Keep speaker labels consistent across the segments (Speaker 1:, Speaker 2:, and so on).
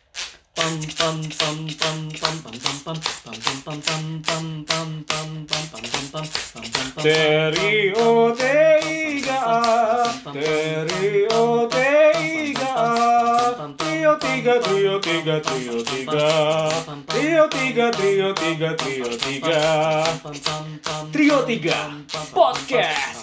Speaker 1: pam pam pam pam pam pam pam pam pam pam pam pam pam pam pam pam pam pam pam pam pam
Speaker 2: T-R-I-O-T-I-G-A T-R-I-O-T-I-G-A Trio tiga, trio tiga, trio tiga Trio tiga, trio tiga, trio tiga Trio tiga Podcast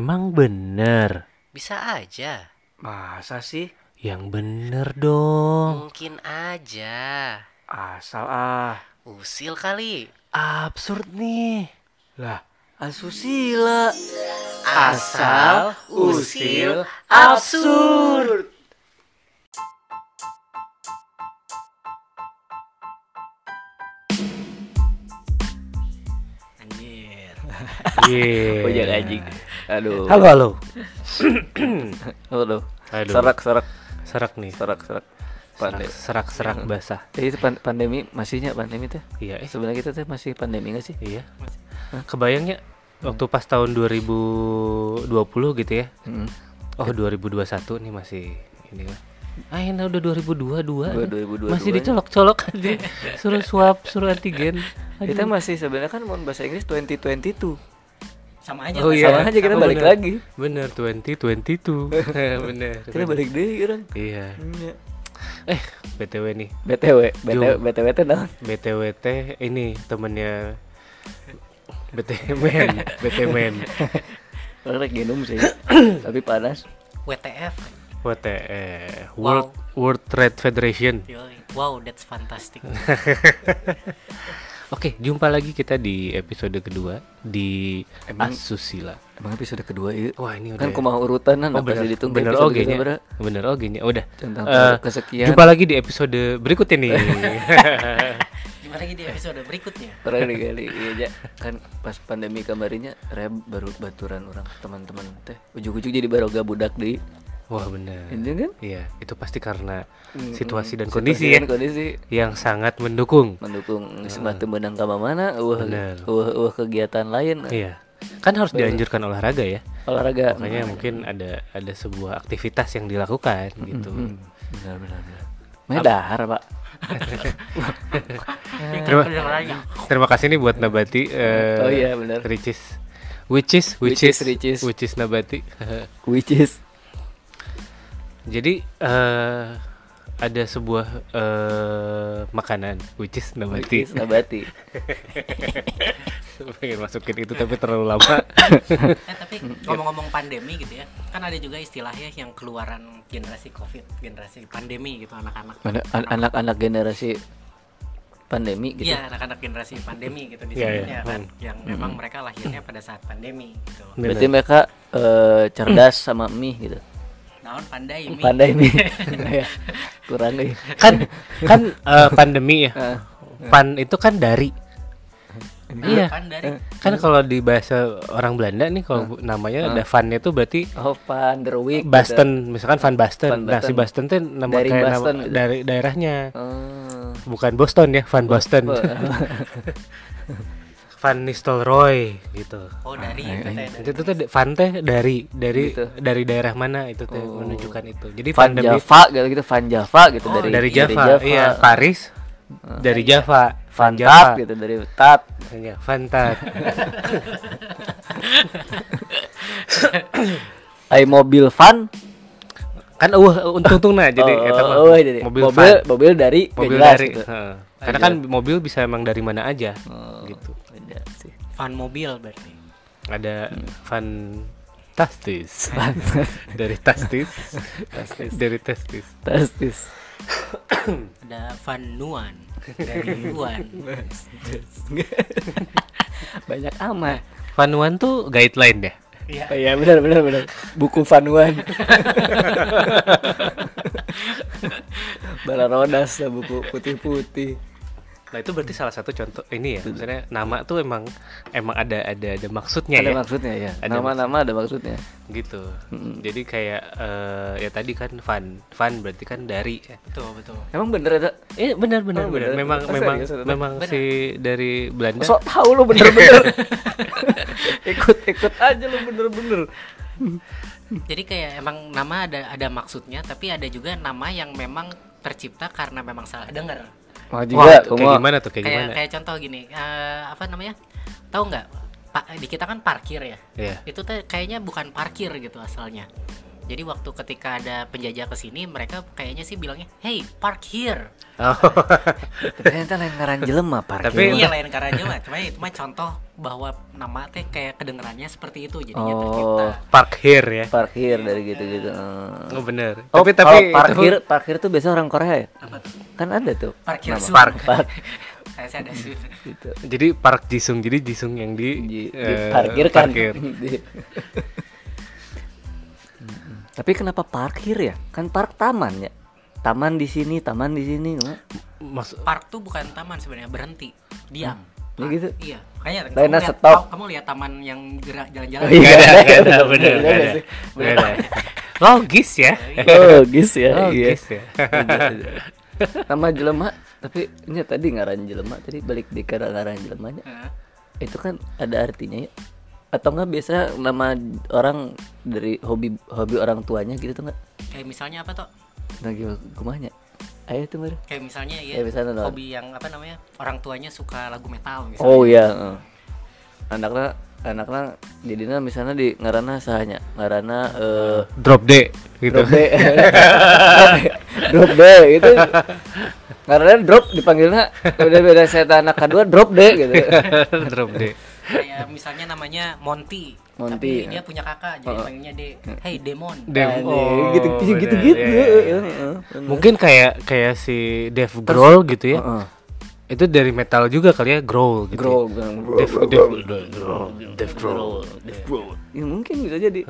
Speaker 3: Emang bener?
Speaker 4: Bisa aja.
Speaker 3: Masa sih? Yang bener dong.
Speaker 4: Mungkin aja.
Speaker 3: Asal ah.
Speaker 4: Usil kali.
Speaker 3: Absurd nih. Lah, asusila.
Speaker 4: Asal, usil, absurd.
Speaker 1: Anjir.
Speaker 3: Yeah.
Speaker 5: Ojek anjing. Aduh.
Speaker 3: Iya. Halo, halo.
Speaker 5: Halo.
Speaker 3: Aduh.
Speaker 5: Serak, serak,
Speaker 3: Serak nih.
Speaker 5: serak, serak. Pandai. Iya.
Speaker 3: Serak-serak basah.
Speaker 5: Jadi itu pan- pandemi masihnya pandemi teh.
Speaker 3: Iya, eh.
Speaker 5: Sebenarnya kita teh masih pandemi nggak sih?
Speaker 3: Iya. Kebayangnya waktu pas tahun 2020 gitu ya.
Speaker 5: Heeh. Iya.
Speaker 3: Oh, 2021 nih masih ini lah. Ah, ini udah 2022.
Speaker 5: Dua-
Speaker 3: nih.
Speaker 5: 2022
Speaker 3: Masih
Speaker 5: nya.
Speaker 3: dicolok-colok aja. suruh swab, suruh antigen. Aduh.
Speaker 5: Kita masih sebenarnya kan mau bahasa Inggris 2022.
Speaker 1: Sama aja.
Speaker 3: Oh
Speaker 5: Sama
Speaker 3: iya.
Speaker 5: aja kita
Speaker 3: Oh,
Speaker 5: balik
Speaker 3: bener.
Speaker 5: lagi.
Speaker 3: Bener 2022. bener.
Speaker 5: Kita
Speaker 3: bener.
Speaker 5: balik Hmm, ya. deh orang.
Speaker 3: Iya. Eh, BTW nih.
Speaker 5: BTW, BTW,
Speaker 3: Jom.
Speaker 5: BTW teh naon?
Speaker 3: BTWT ini temennya BTMN, BTMN,
Speaker 5: Orang rek genum sih. Tapi panas.
Speaker 4: WTF.
Speaker 3: WT, eh, World World Trade Federation.
Speaker 4: Yoi. Wow, that's fantastic.
Speaker 3: Oke, jumpa lagi kita di episode kedua di
Speaker 5: Emang-
Speaker 3: Asusila.
Speaker 5: Emang episode kedua iya.
Speaker 3: Wah ini udah.
Speaker 5: Kan kumaha urutanan
Speaker 3: oh,
Speaker 5: apa
Speaker 3: bener,
Speaker 5: sih ditunggu
Speaker 3: bener
Speaker 5: episode
Speaker 3: oge nya,
Speaker 5: kita, Bro?
Speaker 3: bener oge nya. Udah.
Speaker 5: Tentang
Speaker 3: Eh,
Speaker 5: kesekian.
Speaker 3: Jumpa lagi di episode berikutnya nih.
Speaker 4: Gimana lagi di episode berikutnya?
Speaker 5: Orang digali iya ja. kan pas pandemi kemarinnya rem baru baturan orang teman-teman teh ujug-ujug jadi baroga budak di
Speaker 3: Iya. Wah bener.
Speaker 5: ini kan
Speaker 3: Iya, itu pasti karena
Speaker 5: Mm,
Speaker 3: situasi dan
Speaker 5: mm,
Speaker 3: kondisi
Speaker 5: situasi
Speaker 3: ya
Speaker 5: dan kondisi
Speaker 3: yang sangat mendukung.
Speaker 5: mendukung sebatu menang kama mana wah
Speaker 3: Bener.
Speaker 5: wah wah kegiatan lain
Speaker 3: Iya. Kan harus dianjurkan olahraga ya.
Speaker 5: olahraga
Speaker 3: Makanya mungkin ada ada sebuah aktivitas yang dilakukan gitu.
Speaker 5: benar benar benar medahar pak
Speaker 3: Terima, terima kasih nih buat Nabati. eh,
Speaker 5: Oh iya, benar.
Speaker 3: Ricis. Which is which,
Speaker 5: Which
Speaker 3: is,
Speaker 5: is Ricis.
Speaker 3: which is Nabati.
Speaker 5: which is
Speaker 3: Jadi eh, ada sebuah eh, makanan which is
Speaker 5: which
Speaker 3: Nabati.
Speaker 5: is nabati
Speaker 3: Pengen masukin itu tapi terlalu lama.
Speaker 4: Eh, tapi ngomong-ngomong pandemi gitu ya. Kan ada juga istilahnya yang keluaran generasi Covid, generasi pandemi gitu anak-anak.
Speaker 5: Mana- an- anak-anak generasi pandemi gitu
Speaker 4: Iya, anak-anak generasi pandemi gitu di
Speaker 3: Iya,
Speaker 4: sini
Speaker 3: iya.
Speaker 4: ya kan. Yang memang mereka lahirnya pada saat pandemi gitu.
Speaker 5: berarti mereka eh, cerdas sama mie gitu
Speaker 4: Naon pandai mi.
Speaker 5: Oh, pandai mie Ya, kurang nih
Speaker 3: kan kan eh, pandemi ya. Pan itu kan dari. Iya.
Speaker 4: Pan dari
Speaker 3: Kan kalau di bahasa orang Belanda nih kalau bu- namanya ada vannya tuh berarti
Speaker 5: Oh, Van der Wijk gitu.
Speaker 3: Basten, misalkan Van Basten.
Speaker 5: Van
Speaker 3: Nah, si
Speaker 5: Basten.
Speaker 3: Basten tuh nama
Speaker 5: Dari
Speaker 3: kayak nama-
Speaker 5: Basten gitu.
Speaker 3: dari daerahnya.
Speaker 5: Oh.
Speaker 3: Bukan Boston ya, Van Basten.
Speaker 5: Oh.
Speaker 3: Van Nistelrooy gitu.
Speaker 4: Oh dari itu teh.
Speaker 3: Itu tuh de- Van teh dari dari
Speaker 5: Gitu. Oh.
Speaker 3: dari daerah mana itu tuh menunjukkan itu. Jadi
Speaker 5: Van
Speaker 3: pandemi
Speaker 5: Java gitu gitu Van Java gitu dari
Speaker 3: Oh, dari, Java, iya Paris dari Java,
Speaker 5: Van
Speaker 3: Java.
Speaker 5: Tat gitu dari Tat
Speaker 3: Iya, Van Tat.
Speaker 5: ai Eh, mobil Van
Speaker 3: kan uh untung-untungnya jadi
Speaker 5: Oh,
Speaker 3: eta mah.
Speaker 5: oh, oh, jadi
Speaker 3: mobil
Speaker 5: mobil mobil,
Speaker 3: Van.
Speaker 5: dari
Speaker 3: mobil
Speaker 5: gak jelas
Speaker 3: dari
Speaker 5: gitu.
Speaker 3: heeh. karena kan mobil bisa emang dari mana aja gitu
Speaker 5: Beda iya sih.
Speaker 4: Fan mobil berarti.
Speaker 3: ada fantastis dari tastis dari tastis
Speaker 5: Fantastis.
Speaker 4: Ada Van Nuan dari Yuan.
Speaker 5: banyak amat
Speaker 3: Fanuan tuh guideline deh
Speaker 4: Iya.
Speaker 5: oh, iya benar benar benar buku Vanuan Balarodas lah buku putih-putih
Speaker 3: Nah itu berarti salah satu contoh ini ya. Maksudnya nama tuh emang emang ada ada ada maksudnya
Speaker 5: ada
Speaker 3: ya.
Speaker 5: maksudnya ya
Speaker 3: Ada
Speaker 5: nama-nama ada maksudnya
Speaker 3: gitu. Jadi kayak eh, ya tadi kan fun. Fun berarti kan dari.
Speaker 4: Betul, betul.
Speaker 5: emang bener ada
Speaker 3: Eh benar benar
Speaker 5: Oh,
Speaker 3: benar.
Speaker 5: benar.
Speaker 3: Memang
Speaker 5: Oh,
Speaker 3: memang
Speaker 5: serius, ternyata.
Speaker 3: memang si dari Belanda.
Speaker 5: sok tahu lu bener-bener ikut-ikut aja lu bener-bener
Speaker 4: Jadi kayak emang nama ada ada maksudnya, tapi ada juga nama yang memang tercipta karena memang salah dengar.
Speaker 5: mau
Speaker 3: Wah,
Speaker 5: juga
Speaker 3: tuh, kayak
Speaker 5: kamu
Speaker 3: gimana tuh kayak
Speaker 4: Kayak
Speaker 3: gimana?
Speaker 4: kayak contoh gini, eh, apa namanya? Tahu nggak? Pak di kita kan parkir ya.
Speaker 3: Iya.
Speaker 4: Itu tuh kayaknya bukan parkir gitu asalnya. Jadi waktu ketika ada penjajah ke sini, mereka kayaknya sih bilangnya, "Hey, park here."
Speaker 3: Oh,
Speaker 5: ternyata lain ngaran jelema parkir Oh.
Speaker 3: Tapi-
Speaker 4: Iya lain karena mah, cuma itu mah contoh bahwa nama teh kayak kedengarannya seperti itu
Speaker 3: Iya,
Speaker 4: jadinya tercipta.
Speaker 5: oh
Speaker 3: park here ya.
Speaker 5: parkir dari
Speaker 4: Iya.
Speaker 5: gitu-gitu eh.
Speaker 3: Oh benar.
Speaker 5: Oh,
Speaker 3: tapi
Speaker 5: kalau
Speaker 3: tapi
Speaker 5: parkir
Speaker 3: itu-
Speaker 5: parkir tuh biasanya orang Korea ya?
Speaker 4: Apa tuh?
Speaker 5: Kan ada tuh.
Speaker 4: Parkir
Speaker 5: nama.
Speaker 4: soon.
Speaker 5: Park, park
Speaker 4: Saya saya ada sih.
Speaker 5: gitu.
Speaker 3: jadi park jisung jadi jisung yang di,
Speaker 5: Di, kan?
Speaker 3: eh,
Speaker 5: diparkirkan.
Speaker 3: parkir.
Speaker 5: Di- Mm-mm. Tapi kenapa parkir ya? Kan park taman ya. Taman di sini, taman di sini, oh. nggak?
Speaker 3: Maksud
Speaker 4: park tuh bukan taman sebenarnya berhenti
Speaker 5: Ya
Speaker 4: diam Park.
Speaker 5: gitu.
Speaker 4: iya makanya
Speaker 5: Lainnya
Speaker 4: kamu lihat,
Speaker 5: stop.
Speaker 4: kamu lihat taman yang gerak jalan-jalan
Speaker 5: iya.
Speaker 3: Gak ada,
Speaker 5: Nggak
Speaker 3: gak
Speaker 5: ada,
Speaker 3: ada,
Speaker 5: nggak
Speaker 3: bener,
Speaker 5: ada,
Speaker 3: gak
Speaker 5: nggak
Speaker 3: ada.
Speaker 5: sih.
Speaker 3: Nggak ada. Logis ya.
Speaker 5: Logis ya, iya.
Speaker 3: Logis ya.
Speaker 5: Nama jelema, tapi ini tadi ngaran jelema, tadi balik di ke ngaran jelemanya.
Speaker 4: Heeh.
Speaker 5: Itu kan ada artinya ya. Atau enggak biasa nama orang dari hobi hobi orang tuanya gitu tuh enggak?
Speaker 4: kayak misalnya apa toh
Speaker 5: Nah, gimana? Kumanya? Ayo tuh, Mar.
Speaker 4: kayak misalnya ya
Speaker 5: Kayak misalnya doang.
Speaker 4: hobi yang apa namanya orang tuanya suka lagu metal misalnya
Speaker 5: Oh iya. heeh. Anaknya anaknya jadinya misalnya di ngarana sahanya, ngarana eh
Speaker 3: Drop D gitu.
Speaker 5: drop B. drop B itu ngarana drop dipanggilnya beda-beda setan anak kedua drop D gitu.
Speaker 3: Drop D.
Speaker 4: kayak misalnya namanya Monty
Speaker 5: Oh. Monty,
Speaker 4: tapi
Speaker 5: ya. Hmm.
Speaker 4: dia punya kakak jadi panggilnya de hey Demon
Speaker 3: Dem-
Speaker 5: Aneh,
Speaker 3: oh,
Speaker 5: gitu
Speaker 3: bener,
Speaker 5: gitu gitu.
Speaker 3: iya, iya, iya. Mungkin kayak kayak si Dev Grohl gitu ya. Itu dari metal juga kali ya, growl gitu.
Speaker 5: Grow,
Speaker 3: Ya. Dev Dev growl, Dev growl.
Speaker 5: ya mungkin bisa jadi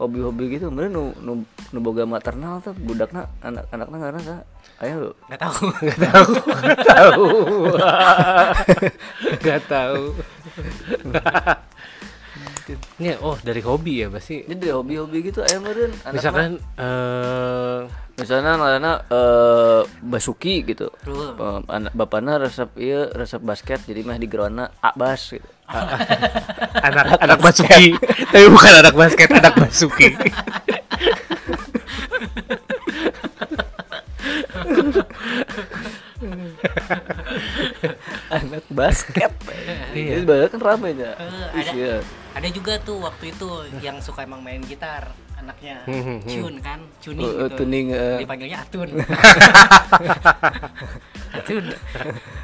Speaker 5: hobi-hobi gitu meren nu nu, nu boga maternal tuh budakna anak-anakna ngarana sah ayo
Speaker 4: nggak tahu
Speaker 3: Tahu, tahu. Gak tahu. Ini oh dari hobi ya pasti.
Speaker 5: jadi dari hobi-hobi gitu ayo meren anak
Speaker 3: Misalkan eh
Speaker 5: misalnya ngarana eh, Basuki gitu
Speaker 4: Betul.
Speaker 5: Eh, anak bapakna resep iya resep basket jadi mah di gerona abas gitu
Speaker 3: anak anak Basuki, tapi bukan anak basket, anak Basuki.
Speaker 5: anak basket
Speaker 3: Iya.
Speaker 5: jadi banyak kan rame ya
Speaker 4: Eh, ada
Speaker 5: Iya.
Speaker 4: ada juga tuh waktu itu yang suka emang main gitar anaknya
Speaker 3: Hmm, hmm, hmm.
Speaker 4: Chun kan Chuni
Speaker 5: Eh, eh,
Speaker 4: gitu
Speaker 5: tuning, eh.
Speaker 4: dipanggilnya Atun Atun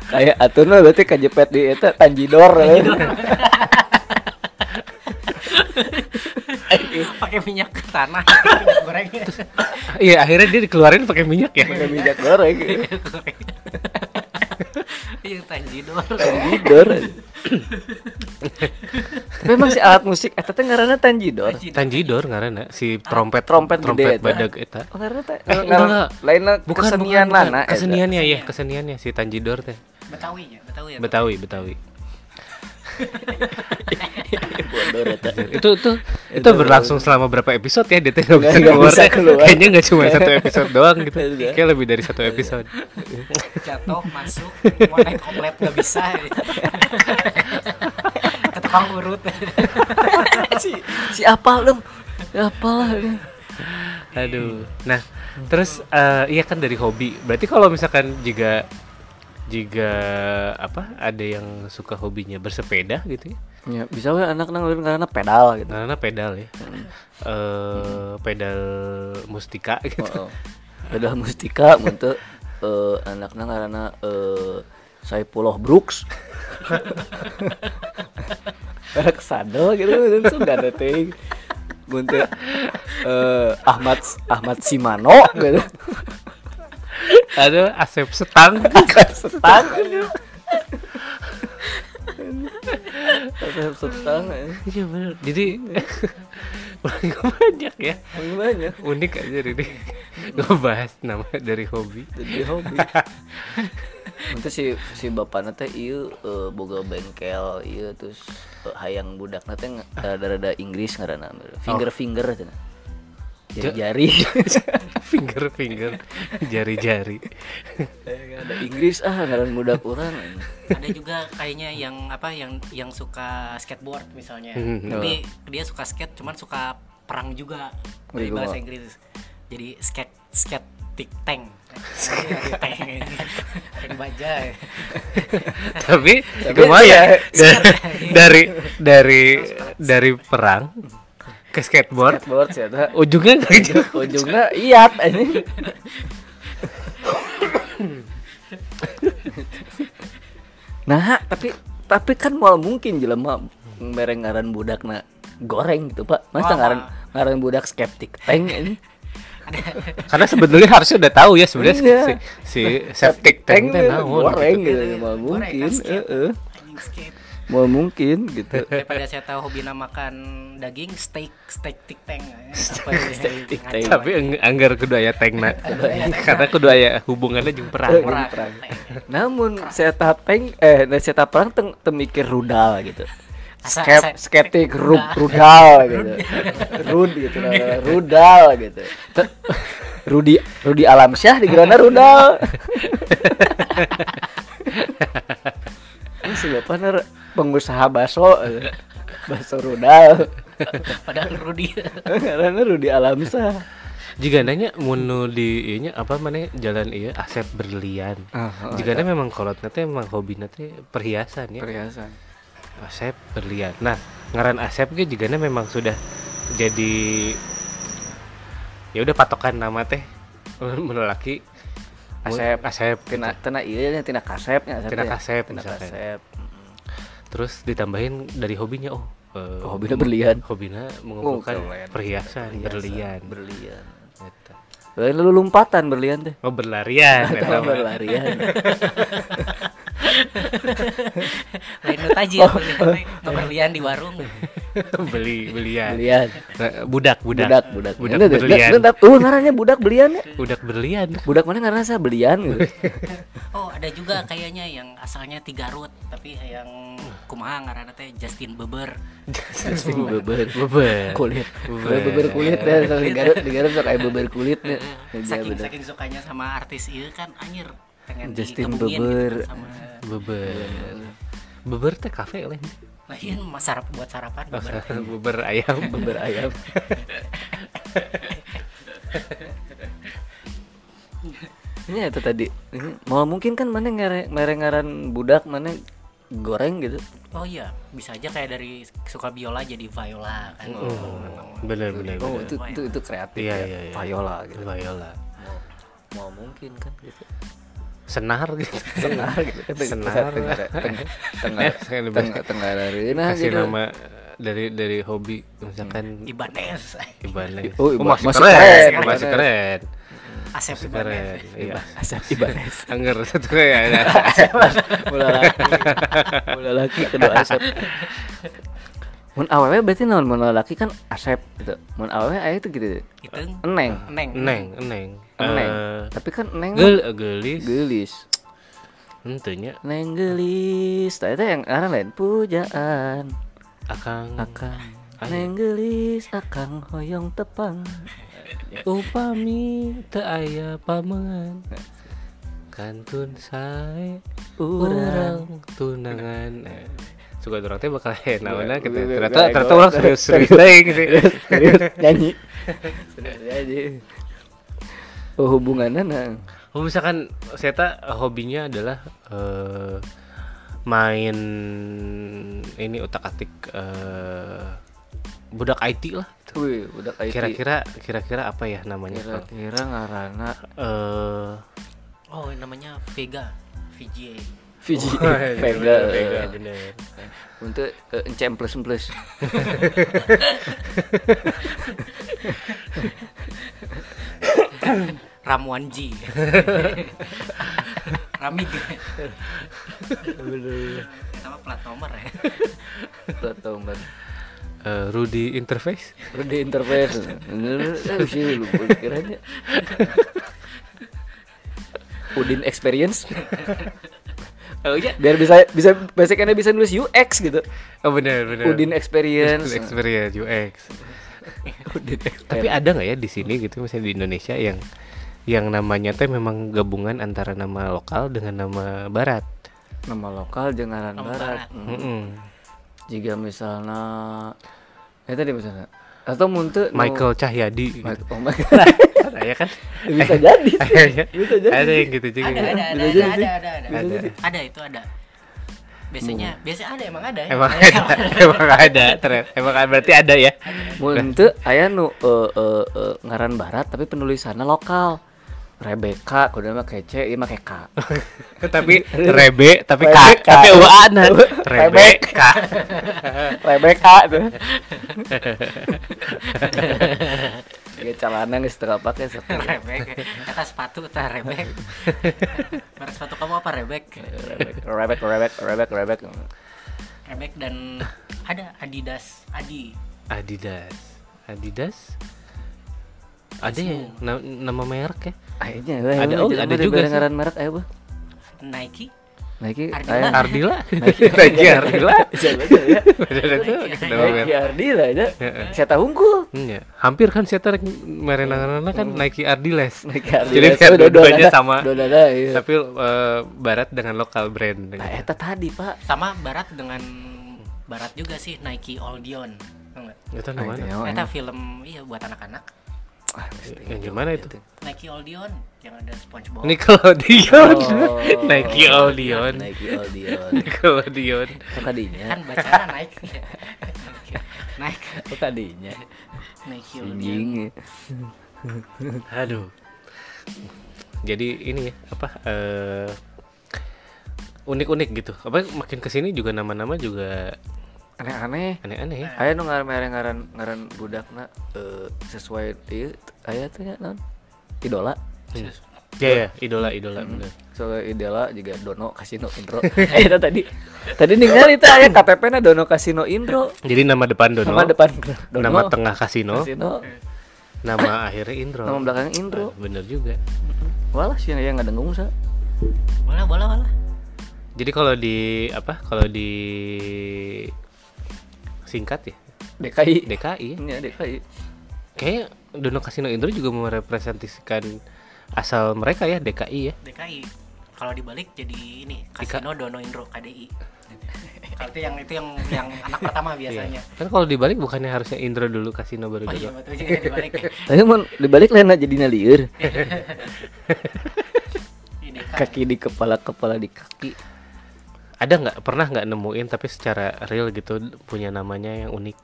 Speaker 5: kayak atun mah berarti kejepet di eta tanjidor
Speaker 4: pakai minyak tanah minyak goreng
Speaker 3: Iya akhirnya dia dikeluarin pakai minyak ya.
Speaker 5: pakai minyak goreng
Speaker 4: yang tanjidor
Speaker 5: tanjidor tapi emang si alat musik eta teh ngaranna tanjidor
Speaker 3: Tanjidor ngarana ya, si trompet
Speaker 5: trompet gede
Speaker 3: trompet
Speaker 5: eta.
Speaker 3: badag eta.
Speaker 5: Oh, ngaranna teh
Speaker 3: Eh, enggak,
Speaker 5: ngaran-
Speaker 3: enggak.
Speaker 5: lainna
Speaker 3: Bukan
Speaker 5: kesenian
Speaker 3: bukan, bukan.
Speaker 5: mana eta.
Speaker 3: Keseniannya ya, keseniannya si Tanjidor teh.
Speaker 4: betawi ya betawi ya
Speaker 3: Betawi, Betawi.
Speaker 5: Bodoh, eta.
Speaker 3: Itu itu itu berlangsung selama berapa episode ya dia teh nggak bisa
Speaker 5: Nggak
Speaker 3: keluar.
Speaker 5: bisa
Speaker 3: teh.
Speaker 5: keluar.
Speaker 3: Kayaknya nggak cuma satu episode doang gitu.
Speaker 5: Iya.
Speaker 3: Kayak lebih dari satu episode.
Speaker 4: jatuh masuk mau naik omlet nggak bisa ke tukang urut
Speaker 5: si si apa dong ya apalah ini
Speaker 3: Aduh. Nah, terus eh, iya kan dari hobi. Berarti kalau misalkan jika jika apa ada yang suka hobinya bersepeda gitu ya.
Speaker 5: ya bisa we anak nang ulun karena pedal gitu
Speaker 3: Karena pedal ya. Eh pedal mustika gitu.
Speaker 5: Oh, oh. pedal mustika untuk anak nang karena Saifullah Brooks karena kesandel gitu itu gak ada ting Muntut eh, Ahmad Ahmad Simano gitu
Speaker 3: Ada asep setang.
Speaker 5: setang setang eh.
Speaker 3: Iya bener. Jadi Orangnya banyak ya.
Speaker 5: Emang banyak
Speaker 3: Unik aja ini. Ngebahas nama dari hobi.
Speaker 5: jadi hobi Nanti si si bapaknya teh ieu eh, boga bengkel ieu terus eh, hayang budakna teh nge- rada-rada Inggris ngaranna finger finger cenah. Jari-jari.
Speaker 3: finger finger jari-jari.
Speaker 5: ada Inggris ah ngaran budak urang.
Speaker 4: ada juga kayaknya yang apa yang yang suka skateboard misalnya
Speaker 3: Hmm,
Speaker 4: tapi dia suka skate cuman suka perang juga
Speaker 5: Wih,
Speaker 4: dari
Speaker 5: gua-
Speaker 4: bahasa Inggris jadi skate skate tik tank Tik tank tank baja
Speaker 3: Tapi ya. lumayan Da- dari dari dari perang ke skateboard
Speaker 5: Skateboard sih ada.
Speaker 3: ujungnya nggak gitu. jauh.
Speaker 5: Ujungnya iap ini. nah, tapi tapi kan mal mungkin jelema mereng ngaran budakna goreng gitu, Pak. Masa
Speaker 4: Wah.
Speaker 5: ngaran ngaran budak skeptik tank ini.
Speaker 4: Iya,
Speaker 3: karena sebetulnya harusnya udah tahu ya sebenarnya
Speaker 5: Iya.
Speaker 3: si, si septic tank teh naon
Speaker 5: goreng gitu,
Speaker 4: Gitu,
Speaker 5: mal
Speaker 4: goreng,
Speaker 5: mungkin.
Speaker 4: kan, skate.
Speaker 5: Heeh.
Speaker 4: Anjing skate
Speaker 5: Mal mungkin gitu.
Speaker 4: daripada saya tahu hobi nama makan daging steak steak tik tank
Speaker 5: Steak tik tank.
Speaker 4: Iya,
Speaker 3: tapi ang- anggar kudu aya tank na karena kudu aya hubungannya jeung perang
Speaker 4: murah
Speaker 5: Namun saya tapeng eh nah, saya taperang teng temikir rudal gitu.
Speaker 4: Asa-
Speaker 5: Skep,
Speaker 4: asa-
Speaker 5: skeptik ru, rudal gitu. Rud gitu nah, rudal gitu. Te- Rudi Rudi Alamsyah di gerana rudal. Ini si bapak ner pengusaha baso eh, baso rudal.
Speaker 4: padahal Rudy
Speaker 5: Karena Rudi Alamsyah.
Speaker 3: jika nanya munu di ieu nya apa mana jalan iya Asep berlian
Speaker 5: Ah,
Speaker 3: jika memang kolotna teh memang hobina teh perhiasan ya
Speaker 5: perhiasan.
Speaker 3: Asep berlian. Nah, ngaran Asep ge juga memang sudah jadi ya udah patokan nama teh menelaki
Speaker 5: Asep.
Speaker 3: Asep
Speaker 5: Tina tina ieu nya tina iya ya, kasepnya
Speaker 3: Tina kasep,
Speaker 5: Tina
Speaker 3: misalkan.
Speaker 5: kasep.
Speaker 3: Terus ditambahin dari hobinya oh. eh,
Speaker 5: Oh, hobina berlian.
Speaker 3: Hobina mengumpulkan
Speaker 5: Oh, keren.
Speaker 3: perhiasan, berlian.
Speaker 5: berlian
Speaker 3: Eta.
Speaker 5: lain lu lompatan berlian teh
Speaker 3: Oh, berlarian eta
Speaker 5: Atau
Speaker 3: mah. Eh.
Speaker 5: berlarian
Speaker 4: lain lu
Speaker 5: Oh.
Speaker 4: tajir pembelian di warung
Speaker 3: beli belian.
Speaker 5: berlian
Speaker 3: Nah, budak, budak.
Speaker 5: budak budak
Speaker 3: Budak
Speaker 5: Ini,
Speaker 3: berlian.
Speaker 5: ini, ini, uh ngarannya budak berlian ya
Speaker 3: Budak berlian.
Speaker 5: budak mana ngarana saya berlian gitu.
Speaker 4: oh ada juga kayaknya yang asalnya ti Garut tapi yang kumaha ngaranna teh Justin Bieber
Speaker 5: Sing beber
Speaker 3: Beber.
Speaker 5: kulit
Speaker 3: Beber.
Speaker 5: beber, beber kulit ya, deh so, di garut di garut sok aya beber kulit nya Iya,
Speaker 4: saking
Speaker 5: bener.
Speaker 4: saking sukanya sama artis ieu kan anjir pengen
Speaker 5: Justin
Speaker 4: dikebugin
Speaker 5: Bieber.
Speaker 4: gitu kan sama
Speaker 3: Beber. Beber teh kafe lain.
Speaker 4: lain mas Nah, iya, sarap buat sarapan
Speaker 3: Oh,
Speaker 4: Bieber.
Speaker 3: beber ayam.
Speaker 5: beber ayam ini Iya, itu tadi ini mau mungkin kan mana ngare- ngaran budak mana goreng gitu
Speaker 4: oh iya bisa aja kayak dari suka biola jadi viola kan
Speaker 3: Bener bener.
Speaker 5: Oh,
Speaker 3: Iya, bener.
Speaker 5: itu, itu itu kreatif
Speaker 3: Iya,
Speaker 5: ya.
Speaker 3: iya, iya.
Speaker 5: Viola gitu.
Speaker 3: Viola.
Speaker 5: Mau mungkin kan gitu.
Speaker 3: Senar gitu.
Speaker 5: Tengah gitu.
Speaker 3: Senar.
Speaker 5: Tengah tengah tengah
Speaker 3: Sekali lebih.
Speaker 5: tengah tengah reuna
Speaker 3: Kasih
Speaker 5: gitu.
Speaker 3: nama eh, dari dari hobi misalkan
Speaker 4: Ibanez
Speaker 3: Ibanez.
Speaker 5: Oh, Iba- masih keren,
Speaker 3: masih
Speaker 5: Ibanez.
Speaker 3: keren,
Speaker 4: Asep
Speaker 3: masih
Speaker 4: Ibanez
Speaker 3: keren. Iya.
Speaker 5: Asep Ibanez.
Speaker 3: Angger satu ya. kayak ada.
Speaker 5: Mula laki. Mula laki kedua Asep. Mun awewe berarti naon mun laki kan Asep gitu. Mun awewe aya itu gitu.
Speaker 4: itu
Speaker 5: Eneng.
Speaker 4: neng
Speaker 3: Neng, neng.
Speaker 5: Eneng.
Speaker 3: Eh,
Speaker 5: Tapi kan eneng
Speaker 3: Gel, eh, gelis.
Speaker 5: gelis.
Speaker 3: Tentunya
Speaker 5: Neng gelis. Tah, Itu yang ngaran lain pujaan.
Speaker 3: akan
Speaker 5: Akang Neng gelis Akang hoyong tepang
Speaker 3: Ya. upami teu aya pamangan. Kantun sae
Speaker 5: Urang
Speaker 3: orang tunangan. Eh, Suka orang teh bakal aya naonna gitu.
Speaker 5: Gue- gue-
Speaker 3: Ternyata
Speaker 5: gue-
Speaker 3: ternyata
Speaker 5: gue-
Speaker 3: orang
Speaker 5: gue-
Speaker 3: serius serius teh gitu.
Speaker 5: Nyanyi Nyanyi Oh hubungannya nah
Speaker 3: Oh, misalkan saya tak hobinya adalah eh, main ini utak atik budak IT lah.
Speaker 5: Wih udah kayak gitu.
Speaker 3: Kira-kira kira-kira apa ya namanya? Kang?
Speaker 5: Kira-kira ngarana
Speaker 3: Eh,
Speaker 4: oh namanya Vega VGA
Speaker 5: Fiji
Speaker 3: Vega,
Speaker 5: Vega
Speaker 3: Vega, Oh, iya, bener.
Speaker 5: Untuk eh, encem plus plus
Speaker 4: Ramuan G Ramid Nama plat nomor ya
Speaker 5: Betul banget
Speaker 3: Eh, eh, Rudy Interface.
Speaker 5: Rudy interface. Eh, sih lu pikirannya. Udin experience.
Speaker 3: Oh iya.
Speaker 5: Biar bisa bisa basic Anda bisa nulis UX gitu.
Speaker 3: Oh benar benar.
Speaker 5: Udin experience.
Speaker 3: Udin Experience UX.
Speaker 5: Udin experience.
Speaker 3: Tapi ada nggak ya di sini gitu misalnya di Indonesia yang yang namanya teh memang gabungan antara nama lokal dengan nama barat.
Speaker 5: nama lokal Jengaran
Speaker 4: Nama
Speaker 5: Barat.
Speaker 4: Barat.
Speaker 5: Hmm.
Speaker 3: Mm-mm.
Speaker 5: Jika misalnya ya tadi misalnya atau muntah
Speaker 3: Michael Cahyadi. Gitu.
Speaker 5: Oh my God.
Speaker 3: Ada ya kan?
Speaker 5: Bisa jadi.
Speaker 3: Akhirnya
Speaker 5: Gitu ya. Bisa jadi.
Speaker 3: ada yang gitu juga.
Speaker 4: ada ada ada
Speaker 5: Iya. Bisa
Speaker 4: ada
Speaker 5: jadi sih. Iya.
Speaker 4: ada ada ada
Speaker 3: Ada.
Speaker 4: ada itu ada biasanya biasanya ada emang ada ya
Speaker 3: Emang ada, emang ada, ternyata. emang berarti ada ya.
Speaker 5: Muntah aya nu eh, eh, eh, ngaran barat tapi penulisannya lokal. Rebecca, kudu mah kece, ieu mah keka.
Speaker 3: tapi rebe, tapi
Speaker 5: Rebe,
Speaker 3: kak,
Speaker 5: Kak.
Speaker 3: tapi uanan, rebe,
Speaker 5: Rebek.
Speaker 3: kak.
Speaker 5: Rebecca tuh. Ya celana geus teu pakai sepatu.
Speaker 4: rebek kata sepatu tah rebek merek sepatu kamu apa rebek
Speaker 5: Rebek, rebek, rebek, rebek.
Speaker 4: rebek dan ada adidas adi
Speaker 3: Adidas, Adidas. Ada ya na- nama merek ya?
Speaker 5: Akhirnya eh,
Speaker 3: Ada- oh, ada juga sih.
Speaker 5: ngaran merek aya, Bu.
Speaker 4: nike
Speaker 5: Nah, iki
Speaker 4: Ardila.
Speaker 5: aya-
Speaker 3: Ardila,
Speaker 5: Nah,
Speaker 3: Nike Ardila.
Speaker 5: Siapa ya?
Speaker 3: Ada tuh,
Speaker 4: Nike,
Speaker 3: nama
Speaker 5: Nike
Speaker 3: merek.
Speaker 5: Iya, Ardila aja.
Speaker 3: Heeh.
Speaker 5: Saya tahu unggul.
Speaker 3: Iya, hampir kan saya tarik
Speaker 5: Iya.
Speaker 3: merenang kan Nike Ardiles.
Speaker 5: Nike
Speaker 3: Jadi
Speaker 5: Ardila.
Speaker 3: kan
Speaker 5: Oh, dodana.
Speaker 3: dua-duanya sama,
Speaker 5: Dodana, iya.
Speaker 3: tapi eh, barat dengan lokal brand.
Speaker 5: Nah, eta tadi, Pak.
Speaker 4: sama barat dengan barat juga sih Nike All Dion Tau nggak?
Speaker 3: Itu
Speaker 5: Nah,
Speaker 3: namanya.
Speaker 5: tengok,
Speaker 4: Eta
Speaker 5: eh.
Speaker 4: film iya buat anak-anak
Speaker 5: Ah, mesti.
Speaker 3: Yang gimana itu?
Speaker 4: Nike All Dion yang ada SpongeBob
Speaker 3: Nickelodeon.
Speaker 5: Oh.
Speaker 3: Nickelodeon.
Speaker 5: Nike Aldion.
Speaker 3: Nickelodeon.
Speaker 5: Itu tadinya.
Speaker 4: kan bacanya naik naik
Speaker 5: Itu tadinya.
Speaker 4: Nike All Dion
Speaker 5: Anjing.
Speaker 3: Aduh. Jadi ini ya, apa eh, unik-unik gitu. Apa makin kesini juga nama-nama juga
Speaker 5: Aneh-aneh.
Speaker 3: aneh-aneh ya.
Speaker 5: Aya nu ngaran ngaran ngaran budakna eh, sesuai ieu aya teh nya naon? Idola.
Speaker 3: Ya ya, idola idola
Speaker 5: Hmm.
Speaker 3: bener.
Speaker 5: Soalnya idola juga Dono Kasino Indro. Eh, itu tadi. Tadi ninggal itu aya KTP-na Dono Kasino Indro.
Speaker 3: Jadi nama depan Dono,
Speaker 5: Nama depan Dono.
Speaker 3: nama tengah Kasino,
Speaker 5: Kasino.
Speaker 3: nama akhirnya Indro.
Speaker 5: Nama belakangnya Indro.
Speaker 3: Ah, bener juga.
Speaker 5: Walah sih yang ngadengung sa.
Speaker 4: boleh boleh boleh
Speaker 3: Jadi kalau di apa? Kalau di singkat ya
Speaker 5: DKI.
Speaker 3: DKI ya.
Speaker 5: Iya, DKI.
Speaker 3: Kayaknya Dono Kasino Indro juga merepresentasikan asal mereka ya DKI ya.
Speaker 4: DKI kalau dibalik jadi ini Kasino Dono Indro KDI kalau itu yang itu yang yang anak pertama biasanya
Speaker 3: Iya. Kan kalau dibalik bukannya harusnya Indro dulu Kasino baru
Speaker 4: oh iya
Speaker 3: Dono.
Speaker 4: betul juga dibalik
Speaker 5: Tapi mun dibalik lain jadi lieur.
Speaker 4: ini
Speaker 5: Kaki di kepala, kepala di kaki.
Speaker 3: Ada nggak pernah nggak nemuin tapi secara real gitu punya namanya yang unik.